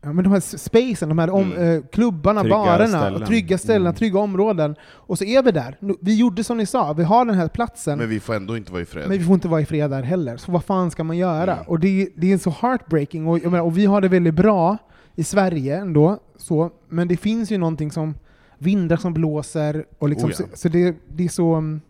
C: ja, men de här spacen, de här om,
A: Mm.
C: eh, klubbarna,
B: Trygga
C: barerna,
B: ställen.
C: Och trygga ställen,
B: Mm.
C: trygga områden. Och så är vi där. Nu- Vi gjorde som ni sa, vi har den här platsen.
A: Men vi får ändå inte vara i fred.
C: Men vi får inte vara i fred där heller. Så vad fan ska man göra?
A: Mm.
C: Och det, det är så heartbreaking. Och, jag menar, och vi har det väldigt bra i Sverige ändå. Så, men det finns ju någonting som vindar som blåser. Och liksom,
A: Oh ja.
C: så, så det, det är så... mm,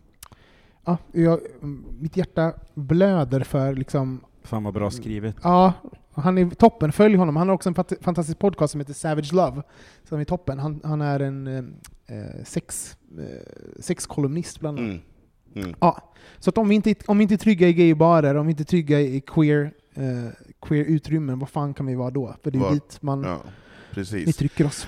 C: Ja, jag, mm, mitt hjärta blöder för liksom...
B: Fan vad bra skrivet.
C: Ja, han är toppen. Följ honom. Han har också en fant- fantastisk podcast som heter Savage Love. Som är toppen. Han, han är en eh, sex, eh, sexkolumnist bland annat.
A: Mm. Mm.
C: Ja, så att om, vi inte, om vi inte är trygga i gaybarer, om vi inte är trygga i queer, eh, queer utrymmen, vad fan kan vi vara då? För det är
A: Var-
C: dit man,
A: Ja,
C: vi
A: precis.
C: trycker oss.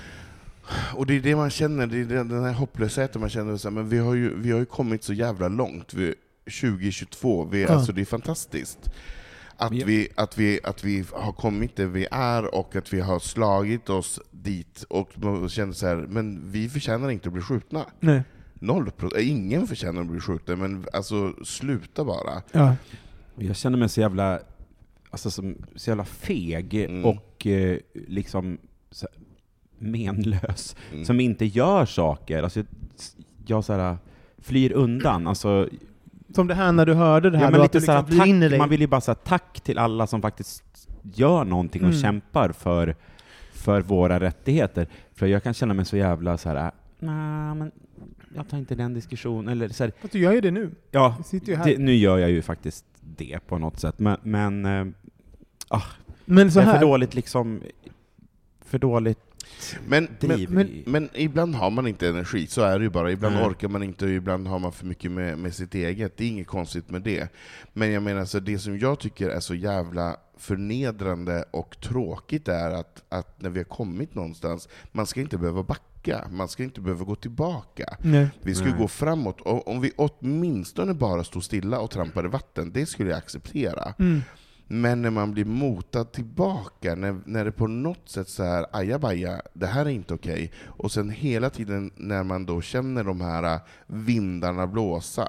A: Och det är det man känner, det är den den här hopplösheten man känner. Så här, men vi har, ju, vi har ju kommit så jävla långt. Vi, 2022, vi, är-
C: Ja.
A: alltså, det är fantastiskt. Att
B: Men jag-
A: vi, att, vi, att vi har kommit där vi är och att vi har slagit oss dit och man känner så här, men vi förtjänar inte att bli skjutna.
C: Nej.
A: Noll pro- äh, ingen förtjänar att bli skjuten, men alltså sluta bara.
C: Ja.
B: Jag känner mig så jävla, alltså, som, så jävla feg
A: Mm.
B: och eh, liksom så, här menlös,
A: Mm.
B: som inte gör saker. Alltså, jag jag så här, flyr undan. Alltså,
C: Som det här när du hörde det här,
B: ja,
C: då,
B: men lite
C: att
B: så här,
C: det liksom blir in i
B: tack,
C: dig.
B: man vill ju bara säga tack till alla som faktiskt gör någonting och
C: Mm.
B: kämpar för, för våra rättigheter. För jag kan känna mig så jävla så här, nej men jag tar inte den diskussionen. Eller så här,
C: Fast du gör ju det nu.
B: Ja,
C: Vi sitter ju här.
B: det, nu gör jag ju faktiskt det på något sätt, men, men eh,
C: Men så
B: jag är för
C: här.
B: dåligt liksom, för dåligt
A: Men, men,
B: driv.
C: men-
B: i-
A: men ibland har man inte energi, så är det ju bara. Ibland
B: Nej.
A: orkar man inte, och ibland har man för mycket med, med sitt eget. Det är inget konstigt med det. Men jag menar, så det som jag tycker är så jävla förnedrande och tråkigt är att, att när vi har kommit någonstans, man ska inte behöva backa. Man ska inte behöva gå tillbaka.
C: Nej.
A: Vi ska ju gå framåt.
B: Mm.
A: Och om vi åtminstone bara stod stilla och trampade vatten, det skulle jag acceptera. Men när man blir motad tillbaka, när, när det på något sätt så här ajabaja, det här är inte okej. Och sen hela tiden när man då känner de här äh, vindarna blåsa.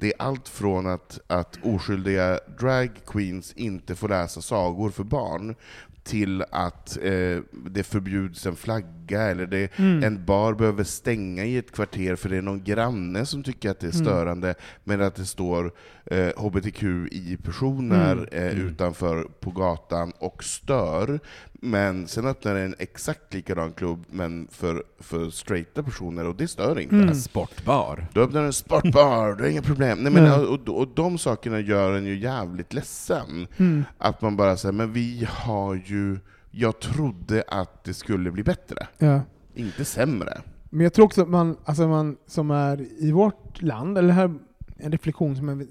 A: Det är allt från att, att oskyldiga drag queens inte får läsa sagor för barn, till att eh, det förbjuds en flagga, eller det, en bar behöver stänga i ett kvarter för det är någon granne som tycker att det är störande, men att det står eh, hbtqi-personer eh, utanför på gatan och stör. Men sen öppnar det en exakt likadan klubb, men för, för straighta personer, och det stör inte.
B: Sportbar.
A: Du öppnar en sportbar, det är inga problem. Nej, men, och, och, och de sakerna gör en ju jävligt ledsen.
C: Mm.
A: Att man bara säger, men vi har ju, jag trodde att det skulle bli bättre,
C: Ja.
A: inte sämre.
C: Men jag tror också att man, alltså man som är i vårt land, eller här, en reflektion som är...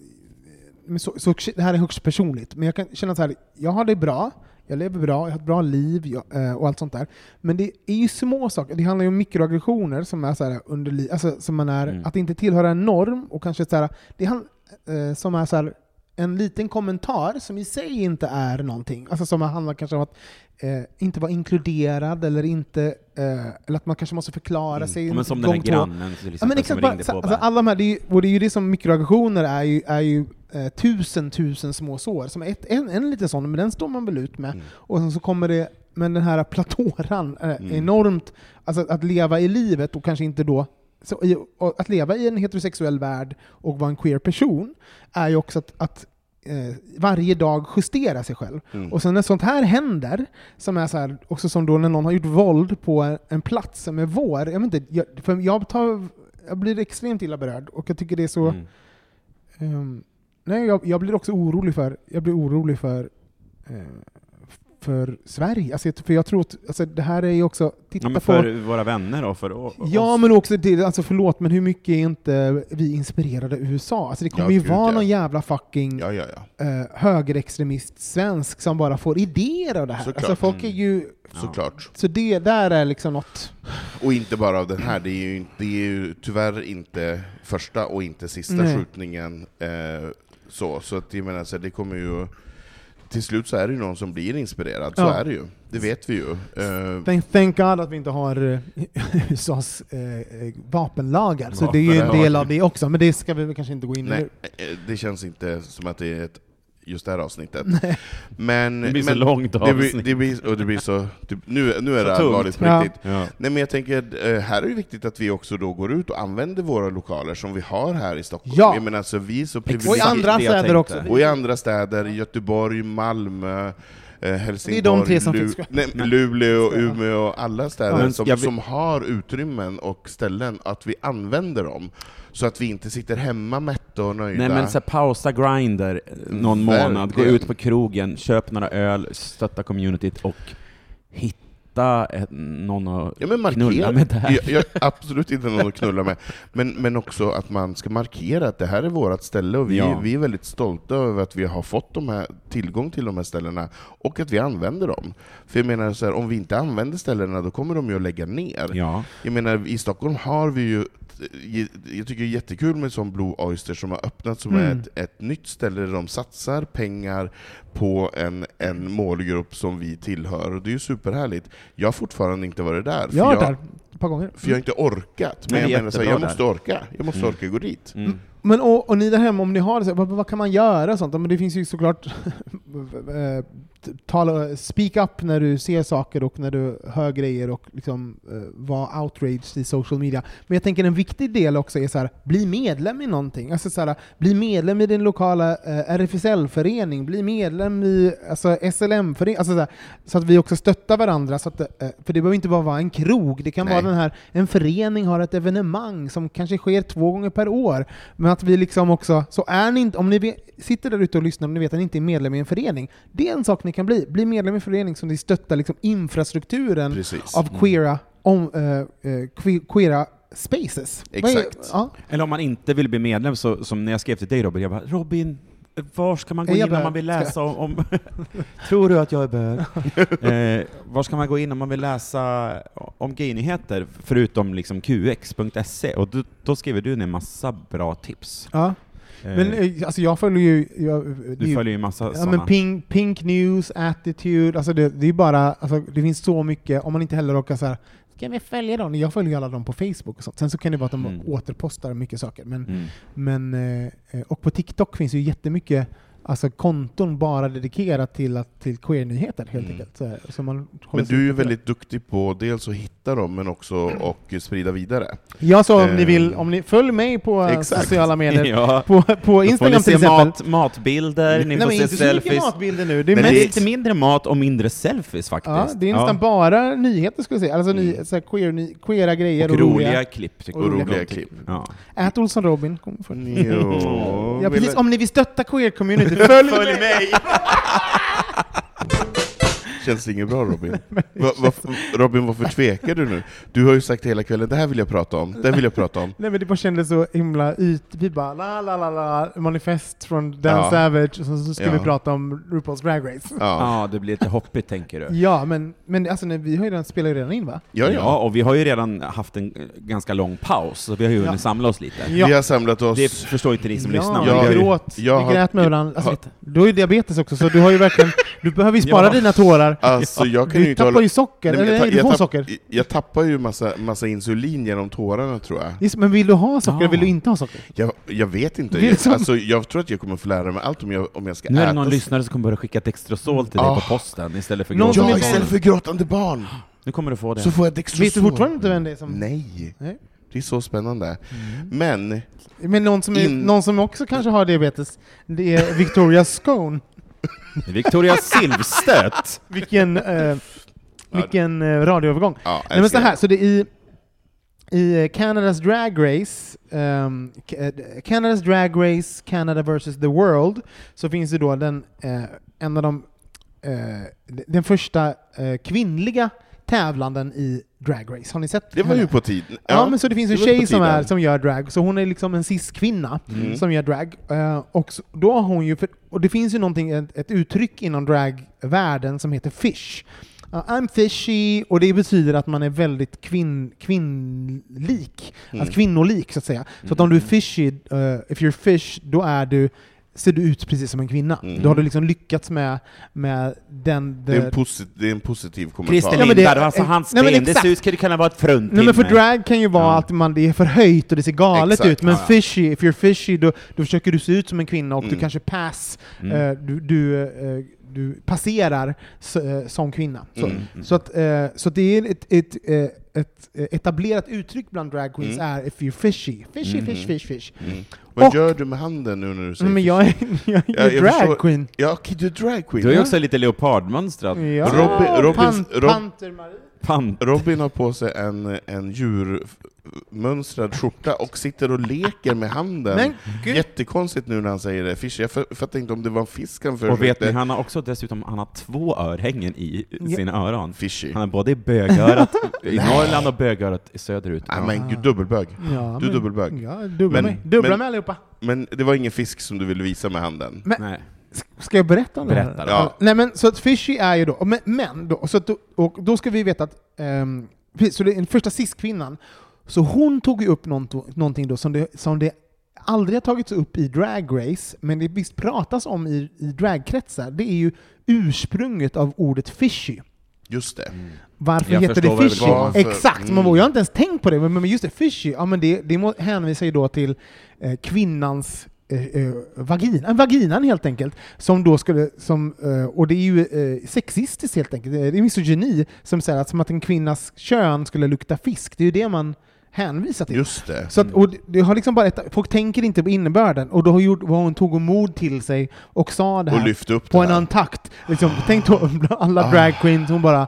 C: Men så, så, det här är högst personligt, men jag kan känna så här, jag har det bra, jag lever bra, jag har ett bra liv jag, eh, och allt sånt där. Men det är ju små saker, det handlar ju om mikroaggressioner som är så här under li- alltså som man är,
B: Mm.
C: att inte tillhöra en norm och kanske så här, det han, eh, som är så här, en liten kommentar som i sig inte är någonting. Alltså som handlar kanske om att eh, inte vara inkluderad eller inte, eh, eller att man kanske måste förklara sig
B: Mm. Ja, men som den här
C: gång två.
B: grannen till
C: Ja,
B: exempel,
C: men
B: som
C: exakt, bara,
B: ringde
C: alltså,
B: på och bara,
C: alla de här, det är, ju- och det är ju det som mikroaggressioner är ju, är ju eh, tusen, tusen små sår. Som ett, en, en liten sån, men den står man väl ut med. Och sen så kommer det, men den här platåran, eh, enormt, alltså att, att leva i livet och kanske inte då så, i, och att leva i en heterosexuell värld och vara en queer person är ju också att, att eh, varje dag justera sig själv.
A: Mm.
C: Och sen när sånt här händer, som är så här, också som då när någon har gjort våld på en, en plats som är vår, jag, vet inte, jag, för jag, tar, jag blir extremt illa berörd och jag tycker det är så...
A: Mm.
C: ehm, nej, jag, jag blir också orolig för, jag blir orolig för eh, för Sverige. Alltså, jag- för jag tror att alltså, det här är ju också... Titta
B: ja, men
C: på,
B: för våra vänner och för o-
C: Ja,
B: oss.
C: men också det, alltså förlåt, men hur mycket är inte vi inspirerade av USA? Alltså det kommer
A: Ja,
C: ju
A: gud,
C: vara
A: ja.
C: någon jävla fucking
A: Ja, ja, ja.
C: eh, högerextremist svensk som bara får idéer av det här.
A: Såklart. Mm.
C: Alltså folk är ju...
A: Såklart.
C: Så det där är liksom något...
A: Och inte bara av den här, det är ju, inte- det är ju tyvärr inte första och inte sista
C: Nej.
A: skjutningen. Eh, så så att, jag menar, så här, det kommer ju... Till slut så är det ju någon som blir inspirerad, så
C: Ja.
A: är det ju. Det vet vi ju. Eh,
C: Thank, thank God att vi inte har eh, USAs eh, eh, vapenlagar, så det är ju en
A: Vapenlagar.
C: del av det också. Men det ska vi väl kanske inte gå in i
A: Nej,
C: nu.
A: eh, det känns inte som att det är ett, just det här avsnittet. Men,
B: Det blir så
A: men,
B: långt
A: det blir,
B: avsnitt.
A: det blir, och det blir så, typ, nu, nu är det
B: tungt.
A: allvarligt på
C: Ja.
A: riktigt. Nej, men jag tänker, eh, här är det viktigt att vi också då går ut och använder våra lokaler som vi har här i Stockholm.
C: Ja.
A: Jag menar, så vi är så
C: Och i
B: Exakt
C: andra
B: det jag
C: städer
B: tänkte.
C: också.
A: Och i andra städer, Göteborg, Malmö, eh, Helsingborg,
C: Det är de tre som
A: Lu-
C: finns.
A: nej, Luleå, Umeå, alla städer
B: Ja, men
A: som,
B: jag vill-
A: som har utrymmen och ställen, att vi använder dem. Så att vi inte sitter hemma mätta och nöjda.
B: Nej men så här, pausa Grindr eh, någon
A: Mm, Verkligen.
B: månad, gå ut på krogen, köp några öl, stötta communityt och hitta ett, någon att
A: Ja, men markera.
B: knulla med där.
A: Jag, jag, absolut inte någon att knulla med. Men, men också att man ska markera att det här är vårt ställe och vi,
B: Ja.
A: vi är väldigt stolta över att vi har fått de här, tillgång till de här ställena och att vi använder dem. För jag menar, så här, om vi inte använder ställena då kommer de ju att lägga ner.
B: Ja.
A: Jag menar, i Stockholm har vi ju jag tycker det är jättekul med sån Blue Oyster som har öppnat som
B: Mm.
A: är ett, ett nytt ställe där de satsar pengar på en, en målgrupp som vi tillhör, och det är ju superhärligt. Jag har fortfarande inte varit där, för
C: Jag har
A: jag,
C: varit där ett par gånger.
A: för jag har inte orkat. Men
B: Nej,
A: jag
B: det är
A: menar så här, jag
B: jättebra Mm.
A: måste orka. Jag måste orka gå dit.
C: Men och, och ni där hemma, om ni har det, så, här, vad, vad kan man göra? och Sånt? Ja, Men det finns ju såklart... eh, t- tala, speak up när du ser saker och när du hör grejer och liksom, eh, var outraged i social media. Men jag tänker en viktig del också är så här, bli medlem i någonting. Alltså så här, bli medlem i din lokala eh, RFSL-förening, bli medlem i alltså, SLM-förening. Alltså så, här, så att vi också stöttar varandra. Så att, eh, för det behöver inte bara vara en krog, det kan
A: Nej.
C: vara den här, en förening har ett evenemang som kanske sker två gånger per år. Men att vi liksom också, så är ni inte, om ni vet, sitter där ute och lyssnar men ni vet att ni inte är medlem i en förening, det är en sak ni kan bli. Bli medlem i en förening som ni stöttar liksom infrastrukturen
A: Precis.
B: Mm.
C: av queera, om, eh, eh, que- queera spaces. Vad är-
A: Exakt.
C: Ja.
B: Eller om man inte vill bli medlem, så, som när jag skrev till dig Robin, jag bara Robin, var ska man gå
C: Är jag
B: in om
C: bög?
B: man vill läsa om... om Tror du att jag är bög? eh, var ska man gå in om man vill läsa om gaynyheter, E? förutom liksom qx.se? Och då, då skriver du ner massa bra tips.
C: Ja. Men
B: eh,
C: eh, alltså jag följer ju... Jag, det är
B: du
C: ju-
B: följer ju massa
C: Ja,
B: sådana.
C: men pink, pink news, attitude, alltså det, det är ju bara, alltså det finns så mycket, om man inte heller råkar såhär Ska vi följa dem? Jag följer ju alla dem på Facebook och sånt. Sen så kan det vara att de
B: Mm.
C: återpostar mycket saker. Men,
B: Mm.
C: men, eh, och på TikTok finns ju jättemycket alltså, konton bara dedikerat till, att, till queer-nyheter
B: Mm.
C: helt enkelt. Så, så man håller
A: Men du
C: sig Mm.
A: är ju
C: uppdaterad.
A: väldigt duktig på dels att hitta dem, men också och sprida vidare.
C: Ja, så om ni
A: Eh,
C: vill, om ni följ mig på eh,
A: exakt.
C: sociala medier.
B: Ja.
C: På, på Instagram
B: får
C: till
B: ni se
C: exempel.
B: mat, matbilder, ni
C: Nej,
B: får
C: men
B: se
C: inte så mycket
B: selfies.
C: matbilder nu. Det är
B: Men det är
C: mest
B: lite mindre mat och mindre selfies faktiskt.
C: Ja, det är nästan bara nyheter skulle jag säga. Alltså ny,
A: Mm.
C: så här queer, ny, queera grejer och, roliga.
B: klipp. tycker
A: Och
B: jag.
A: roliga klipp.
B: Ja.
C: Ät Olsson Robin. Kom
A: Mm.
C: för.
A: Jo,
C: Ja, precis.
A: vill-
C: Om ni vill stötta queer-community, följ mig!
A: Känns det inget bra Robin? Va, va, Robin, varför tvekar du nu? Du har ju sagt hela kvällen, det här vill jag prata om, det här vill jag prata om.
C: Nej men det bara kändes så himla yt... Vi bara la la la la, manifest från Dan
A: Ja.
C: Savage, och så, så ska
A: Ja.
C: vi prata om RuPaul's Drag Race.
A: Ja,
B: ja, det blir lite hoppigt tänker du.
C: Ja, men, men alltså, nej, vi har ju redan, spelar ju redan in va?
A: ja.
B: Ja,
A: ja.
B: och vi har ju redan haft en eh, ganska lång paus, så vi har ju hunnit
C: Ja.
B: samla oss lite.
C: Ja.
A: Vi har samlat oss.
B: Det förstår inte ni som
C: ja,
B: lyssnar.
A: Jag-
B: men
C: vi
B: vi har ju-
C: gråt,
A: jag har-
C: vi grät med varandra. Alltså,
A: har-
C: vet du, du har ju diabetes också, så du har ju verkligen... Du behöver ju spara
B: Ja.
C: dina tårar.
A: Alltså jag kan ju
C: Du
A: inte
C: tappar
A: hålla...
C: ju socker,
A: Nej, men
C: eller
A: jag,
C: nej,
A: ta-
C: du
A: jag,
C: får
A: tapp-
C: socker.
A: jag tappar ju massa, massa insulin genom tårarna tror jag.
C: Just, men vill du ha socker
B: Ja.
C: eller vill du inte ha socker?
A: Jag, jag vet inte.
C: Det är
A: Jag,
C: som-
A: alltså, jag tror att jag kommer få lära mig allt om jag, om jag ska
B: Nu är
A: äta.
B: det någon lyssnare som kommer börja skicka Dextrosol till dig på posten istället för
C: Ah. Någon som
A: Ja,
C: är-
A: istället för gråtande barn
B: Nu kommer du få det.
A: så får jag dextrosol.
C: Vet du fortfarande inte vem det är som...
A: Nej.
C: Nej. Mm.
A: Det är så spännande. Men,
C: Men någon som, är,
A: In-
C: någon som också kanske har diabetes, det är Victoria Scone.
B: Victoria Silvstedt!
C: Vilken, eh, vilken eh, radioövergång.
A: ja,
C: Nej, men så
A: älskar
C: här,
A: det.
C: så det är i, i eh, Canadas Drag Race, ehm, Ca- eh, Canadas Drag Race, Canada vs the World, så finns det då den, eh, en av de, eh, d- den första eh, kvinnliga tävlanden i Drag Race. Har ni sett
A: det var
C: henne?
A: ju på tiden.
C: Ja, men så det finns en
A: var på
C: tjej som,
A: tiden. Mm.
C: är, som gör drag, så hon är liksom en cis-kvinna som gör drag. Eh, och så, då har hon ju, för, och det finns ju någonting, ett, ett uttryck inom dragvärlden som heter fish. Ja, I'm fishy, och det betyder att man är väldigt kvinn, kvinnlik.
A: Mm.
C: Alltså kvinnolik, så att säga. Så att om du är fishy, eh, if you're fish, då är du ser du ut precis som en kvinna. Då har du liksom lyckats med, med den...
A: Mm. Det är en, posi- det är en positiv kommentar.
B: Christer
C: Ja, men det-
B: Lindberg, alltså hans
C: Nej, men
B: ben, det
C: exakt.
B: ser ut skulle kunna vara ett fruntimmer.
C: Nej men för drag kan ju vara
B: Ja.
C: att man, det är för höjt och det ser galet
A: Exakt.
C: ut, men
B: Ja, ja.
C: fishy, if you're fishy, då, då försöker du se ut som en kvinna
A: Mm.
C: och du kanske pass, eh, du, du, eh, du passerar s, eh, som kvinna. Så,
A: Mm.
C: så, att, eh, så att det är ett, ett, eh, ett eh, etablerat uttryck bland drag queens är if you're fishy. Fishy, fish, fish, fish.
A: Mm. Vad
C: Och-
A: gör du med handen nu när du säger
C: Men
A: fish?
C: jag är, jag är
A: Ja, jag
C: drag
A: förstår.
C: queen.
A: Ja, okej, du är dragqueen.
B: Du har ju också lite leopardmönstrat.
C: Ja.
A: Robin- Robins-
C: Pan,
A: Rob-
C: Panter Marie.
B: Fan.
A: Robin har på sig en, en djurmönstrad skjorta och sitter och leker med handen.
C: Men gud.
A: Jättekonstigt nu när han säger det. Fish, jag f- fattar inte om det var en fisk han försökte...
B: Och vet ni, han har också dessutom han har två örhängen i sina öron.
A: Fishy.
B: Han har både i bögörat i Norrland och bögörat i söderut.
A: Nej men gud, dubbelbög.
C: Ja,
A: du är
C: men-
A: dubbelbög.
C: Ja, dubbla
A: Men-
C: mig. Dubbla
A: men-
C: mig allihopa.
A: Men det var ingen fisk som du ville visa med handen?
C: Men,
B: Nej.
C: Ska jag berätta om det
B: Berätta
C: här?
B: då.
A: Ja.
C: Nej men så att Fishy är ju då, men, men då, så att, då- och då ska vi veta att, ehm, precis, så det är den första cis-kvinnan, så hon tog ju upp någonting, någonting då som det, som det aldrig har tagits upp i Drag Race, men det visst pratas om i, i dragkretsar, det är ju ursprunget av ordet fishy.
A: Just det.
C: Mm. Varför
B: Jag
C: heter
B: förstår
C: det
B: vad det
C: fishy?
A: var för-
C: Exakt, man,
A: Mm.
C: jag har inte ens tänkt på det, men, men just det, fishy, ja, men det, det må- hänvisar ju då till eh, kvinnans eh, eh, vagina, eh, vaginan helt enkelt, som då skulle, som, eh, och det är ju eh, sexistiskt helt enkelt, det är misogyni som säger att, som att en kvinnas kön skulle lukta fisk, det är ju det man hänvisar till.
A: Just det.
C: Så att, och det- det har liksom bara ett, folk tänker inte på innebörden, och då har gjort, vad hon tog mod till sig och sa det
A: Och
C: här
A: lyfte upp
C: på
A: det
C: en
A: här.
C: antakt. Liksom, tänk då bland
B: Ah.
C: alla drag queens, hon bara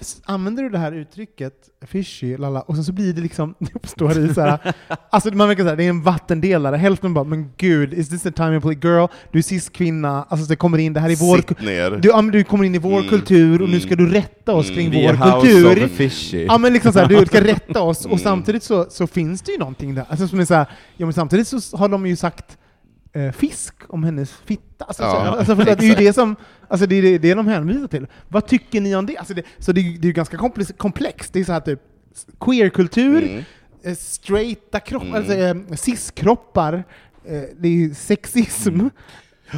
C: "S- Använder du det här uttrycket, fishy, lala, och sen så blir det liksom, det uppstår i så här, alltså man verkar såhär, det är en vattendelare. Hälften bara, men gud, is this the time you play girl? Du är cis kvinna, alltså det kommer in, det här är vår...
A: Sitt ner.
C: Du, ja, men du kommer in i vår kultur och nu ska du rätta oss kring
B: Mm. Vi är
C: vår
B: House
C: kultur.
B: of the Fishy.
C: Ja men liksom såhär, du ska rätta oss,
B: Mm.
C: och samtidigt så, så finns det ju någonting där. Alltså som är såhär, ja men samtidigt så har de ju sagt eh, fisk om hennes fitta. Alltså,
A: Ja,
C: så, alltså, för att det är ju det som alltså, det är det, det är de hänvisar till. Vad tycker ni om det? Alltså, det så det, är ju- det är ju ganska komplex, komplext. Det är så här typ
B: Mm.
C: queerkultur, eh, straighta kroppar, alltså, eh, cis-kroppar, eh, det är ju sexism.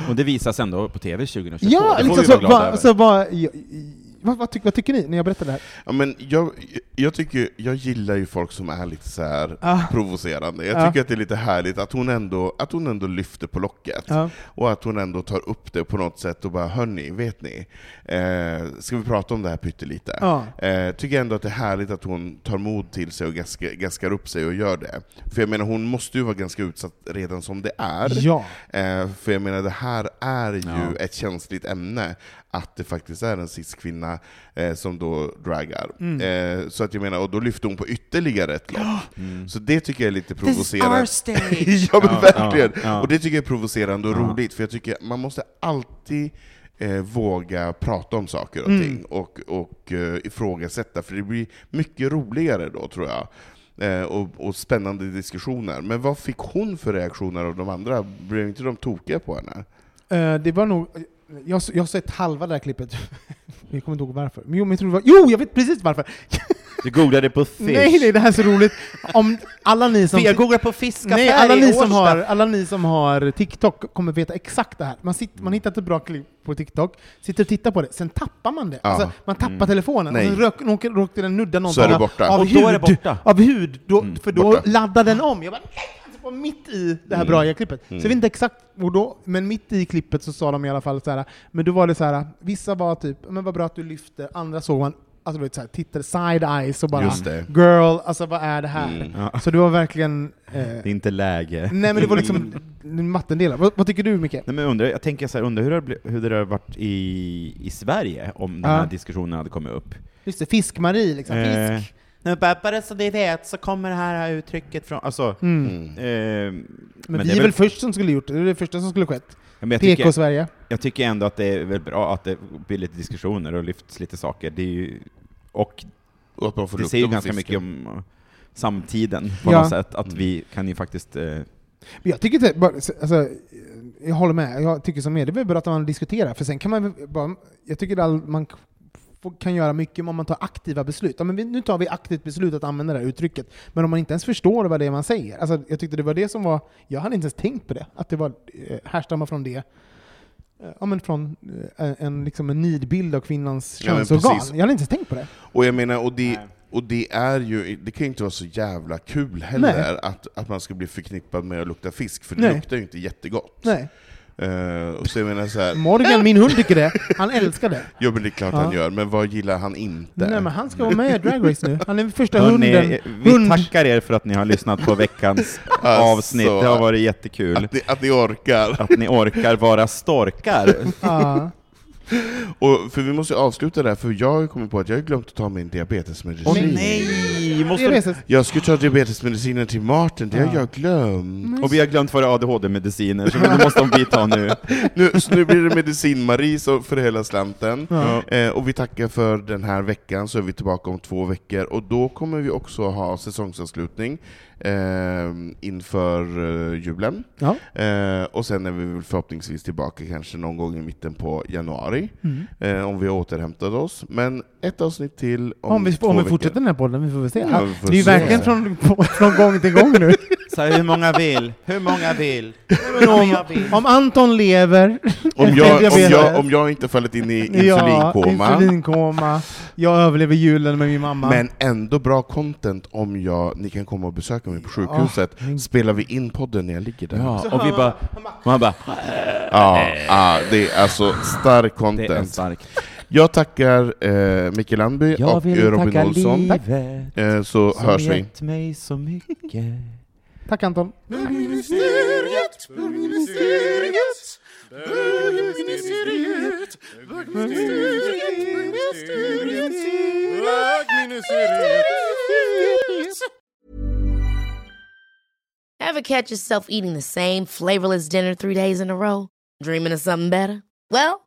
B: Och det visas ändå på TV 2022.
C: Ja,
B: Mm. det får
C: liksom,
B: vi vara
C: så,
B: glada
C: va,
B: över.
C: så va, ja, vad, vad, tycker, vad tycker ni när jag berättar det här?
A: Ja, men jag, jag, tycker, jag gillar ju folk som är lite så här provocerande. Jag
C: Ja.
A: tycker att det är lite härligt att hon ändå, att hon ändå lyfter på locket.
C: Ja.
A: Och att hon ändå tar upp det på något sätt och bara ”Hörni, vet ni? Eh, ska vi prata om det här pyttelite?”
C: Ja.
A: eh, Tycker ändå att det är härligt att hon tar mod till sig och gaskar, gaskar upp sig och gör det. För jag menar, hon måste ju vara ganska utsatt redan som det är.
C: Ja.
A: Eh, för jag menar, det här är ju ett känsligt ämne, att det faktiskt är en cis-kvinna eh, som då dragar. Eh, så att jag menar, och då lyfter hon på ytterligare ett lock. Så det tycker jag är lite provocerande. ja men verkligen! Och det tycker jag är provocerande och roligt, för jag tycker man måste alltid eh, våga prata om saker
C: Mm.
A: och ting, och, och eh, ifrågasätta, för det blir mycket roligare då tror jag. Eh, och, och spännande diskussioner. Men vad fick hon för reaktioner av de andra? Blev inte de tokiga på henne?
C: Eh, det var nog... Jag, jag har sett halva det här klippet. Jag kommer inte ihåg varför. Men jo, men jag tror det var, jo, jag vet precis varför!
G: Du googlade på fish.
C: Nej, nej, det här är så roligt. Om alla ni som...
G: För jag googlar på fiskaffär
C: Nej, alla
G: i
C: ni, som
G: Årsta.
C: har, alla ni som har TikTok kommer veta exakt det här. Man, sitter,
B: Mm.
C: man hittar ett bra klipp på TikTok, sitter och tittar på det, sen tappar man det.
A: Ja.
C: Alltså, man tappar telefonen,
A: Nej.
C: och sen rök- råkar, råkar den nudda någon
A: Så är det
C: av-
A: borta. Mm,
C: Av
B: Mm. Och
C: hud,
B: då är det borta.
C: Av hud, då, för då
A: borta.
C: laddar den om. Jag bara, nej! Alltså, var mitt i det här
B: Mm.
C: braiga klippet. Så jag vet inte exakt, och då, men mitt i klippet så sa de i alla fall så här. men då var det så här. vissa var typ, men vad bra att du lyfter, andra såg man Alltså, du vet, så här, tittade side-eyes och bara
A: Just det. Mm.
C: ”girl, alltså vad är det här?” Så det var verkligen... eh,
G: Det är inte läge.
C: Nej men det var liksom mattendelar. Vad, vad tycker du Micke?
B: Nej, men jag undrar, jag tänker så här, undrar hur det, bli- hur det hade varit i, i Sverige om den
C: Ja.
B: här diskussionen hade kommit upp.
C: Just det, Fisk-Marie liksom.
B: Eh,
C: Fisk.
G: När bara så det vet så kommer det här uttrycket från... Alltså,
C: Mm.
A: Mm.
G: eh, men,
C: Men,
B: det
C: vi
B: är
C: är
B: väl-
C: väl först som skulle gjort det, det är det första som skulle skett.
B: men jag, tycker,
C: PK-Sverige.
B: jag tycker ändå att det är väl bra att det blir lite diskussioner och lyfts lite saker. Det är ju, och
A: Och att man får
B: det
A: lukta
B: säger ju
A: på
B: ganska
A: fisken.
B: mycket om eh, samtiden på
C: Ja.
B: något sätt, att vi kan ju faktiskt... Eh,
C: Men jag tycker inte, bara- alltså, jag håller med, jag tycker som er, det är väl bra att man diskuterar, för sen kan man väl bara, jag tycker all, man k- får- kan göra mycket om man tar aktiva beslut. Ja, men vi, nu tar vi aktivt beslut att använda det här uttrycket, men om man inte ens förstår vad det är man säger. Alltså, jag tyckte det var det som var, jag hade inte ens tänkt på det, att det var, eh, härstammar från det, eh, ja, men från eh, en, liksom en nidbild av kvinnans
A: Ja, men
C: könsorgan.
A: precis.
C: jag hade inte ens tänkt på det.
A: Och jag menar, och det, och det är ju, det kan ju inte vara så jävla kul heller att, att man ska bli förknippad med att lukta fisk, för det
C: Nej.
A: luktar ju inte jättegott.
C: Nej.
A: Eh, och så jag menar så här,
C: Morgan, min hund, tycker det. Han älskar det.
A: jo men det är klart han gör, men vad gillar han inte?
C: Nej, men han ska vara med i Drag Race nu. Han är första
B: hörni,
C: hunden.
B: eh, vi tackar er för att ni har lyssnat på veckans avsnitt. Det har varit jättekul.
A: att, ni, Alltså. att ni orkar.
B: Att ni orkar vara storkar.
C: Ja.
A: Och, för vi måste ju avsluta där, för jag har ju kommit på att jag har glömt att ta min diabetesmedicin.
B: nej!
C: Det är reses.
A: Jag skulle ta diabetesmedicinen till Martin, det har jag glömt.
B: Och vi har glömt våra ADHD-mediciner, så det måste vi ta nu.
A: Nu, så nu blir det medicin-Marie så för hela slanten. Eh, och vi tackar för den här veckan, så är vi tillbaka om två veckor. Och då kommer vi också ha säsongsavslutning eh, inför eh, julen.
C: Ja.
A: Eh, och sen är vi väl förhoppningsvis tillbaka kanske någon gång i mitten på januari, eh, om vi har återhämtat oss. Men ett avsnitt till om,
C: Om vi,
A: två
C: om vi
A: veckor.
C: fortsätter den här podden, vi får väl se.
A: Ja, vi får
C: det är ju
A: se.
C: verkligen från, från gång till gång nu.
G: Så här, hur många vill? Hur många vill? Hur många vill?
C: Om Anton lever,
A: Om jag, om,
C: Diabetes.
A: jag, om jag inte fallit in i
C: ja,
A: insulinkoma,
C: insulinkoma, jag överlever julen med min mamma.
A: men ändå bra content om jag, ni kan komma och besöka mig på sjukhuset, spelar vi in podden när jag ligger där. Ja,
B: Ja, och vi bara... Man bara...
A: ja, det är alltså stark
B: Det är
A: content.
B: starkt.
A: Jag tackar eh, Micke Landby och Robin Olsson, eh, så hörs vi.
B: mig så mycket.
C: Tack Anton.
E: Ever catch yourself eating the same flavorless dinner three days in a row? Dreaming of something better? Well,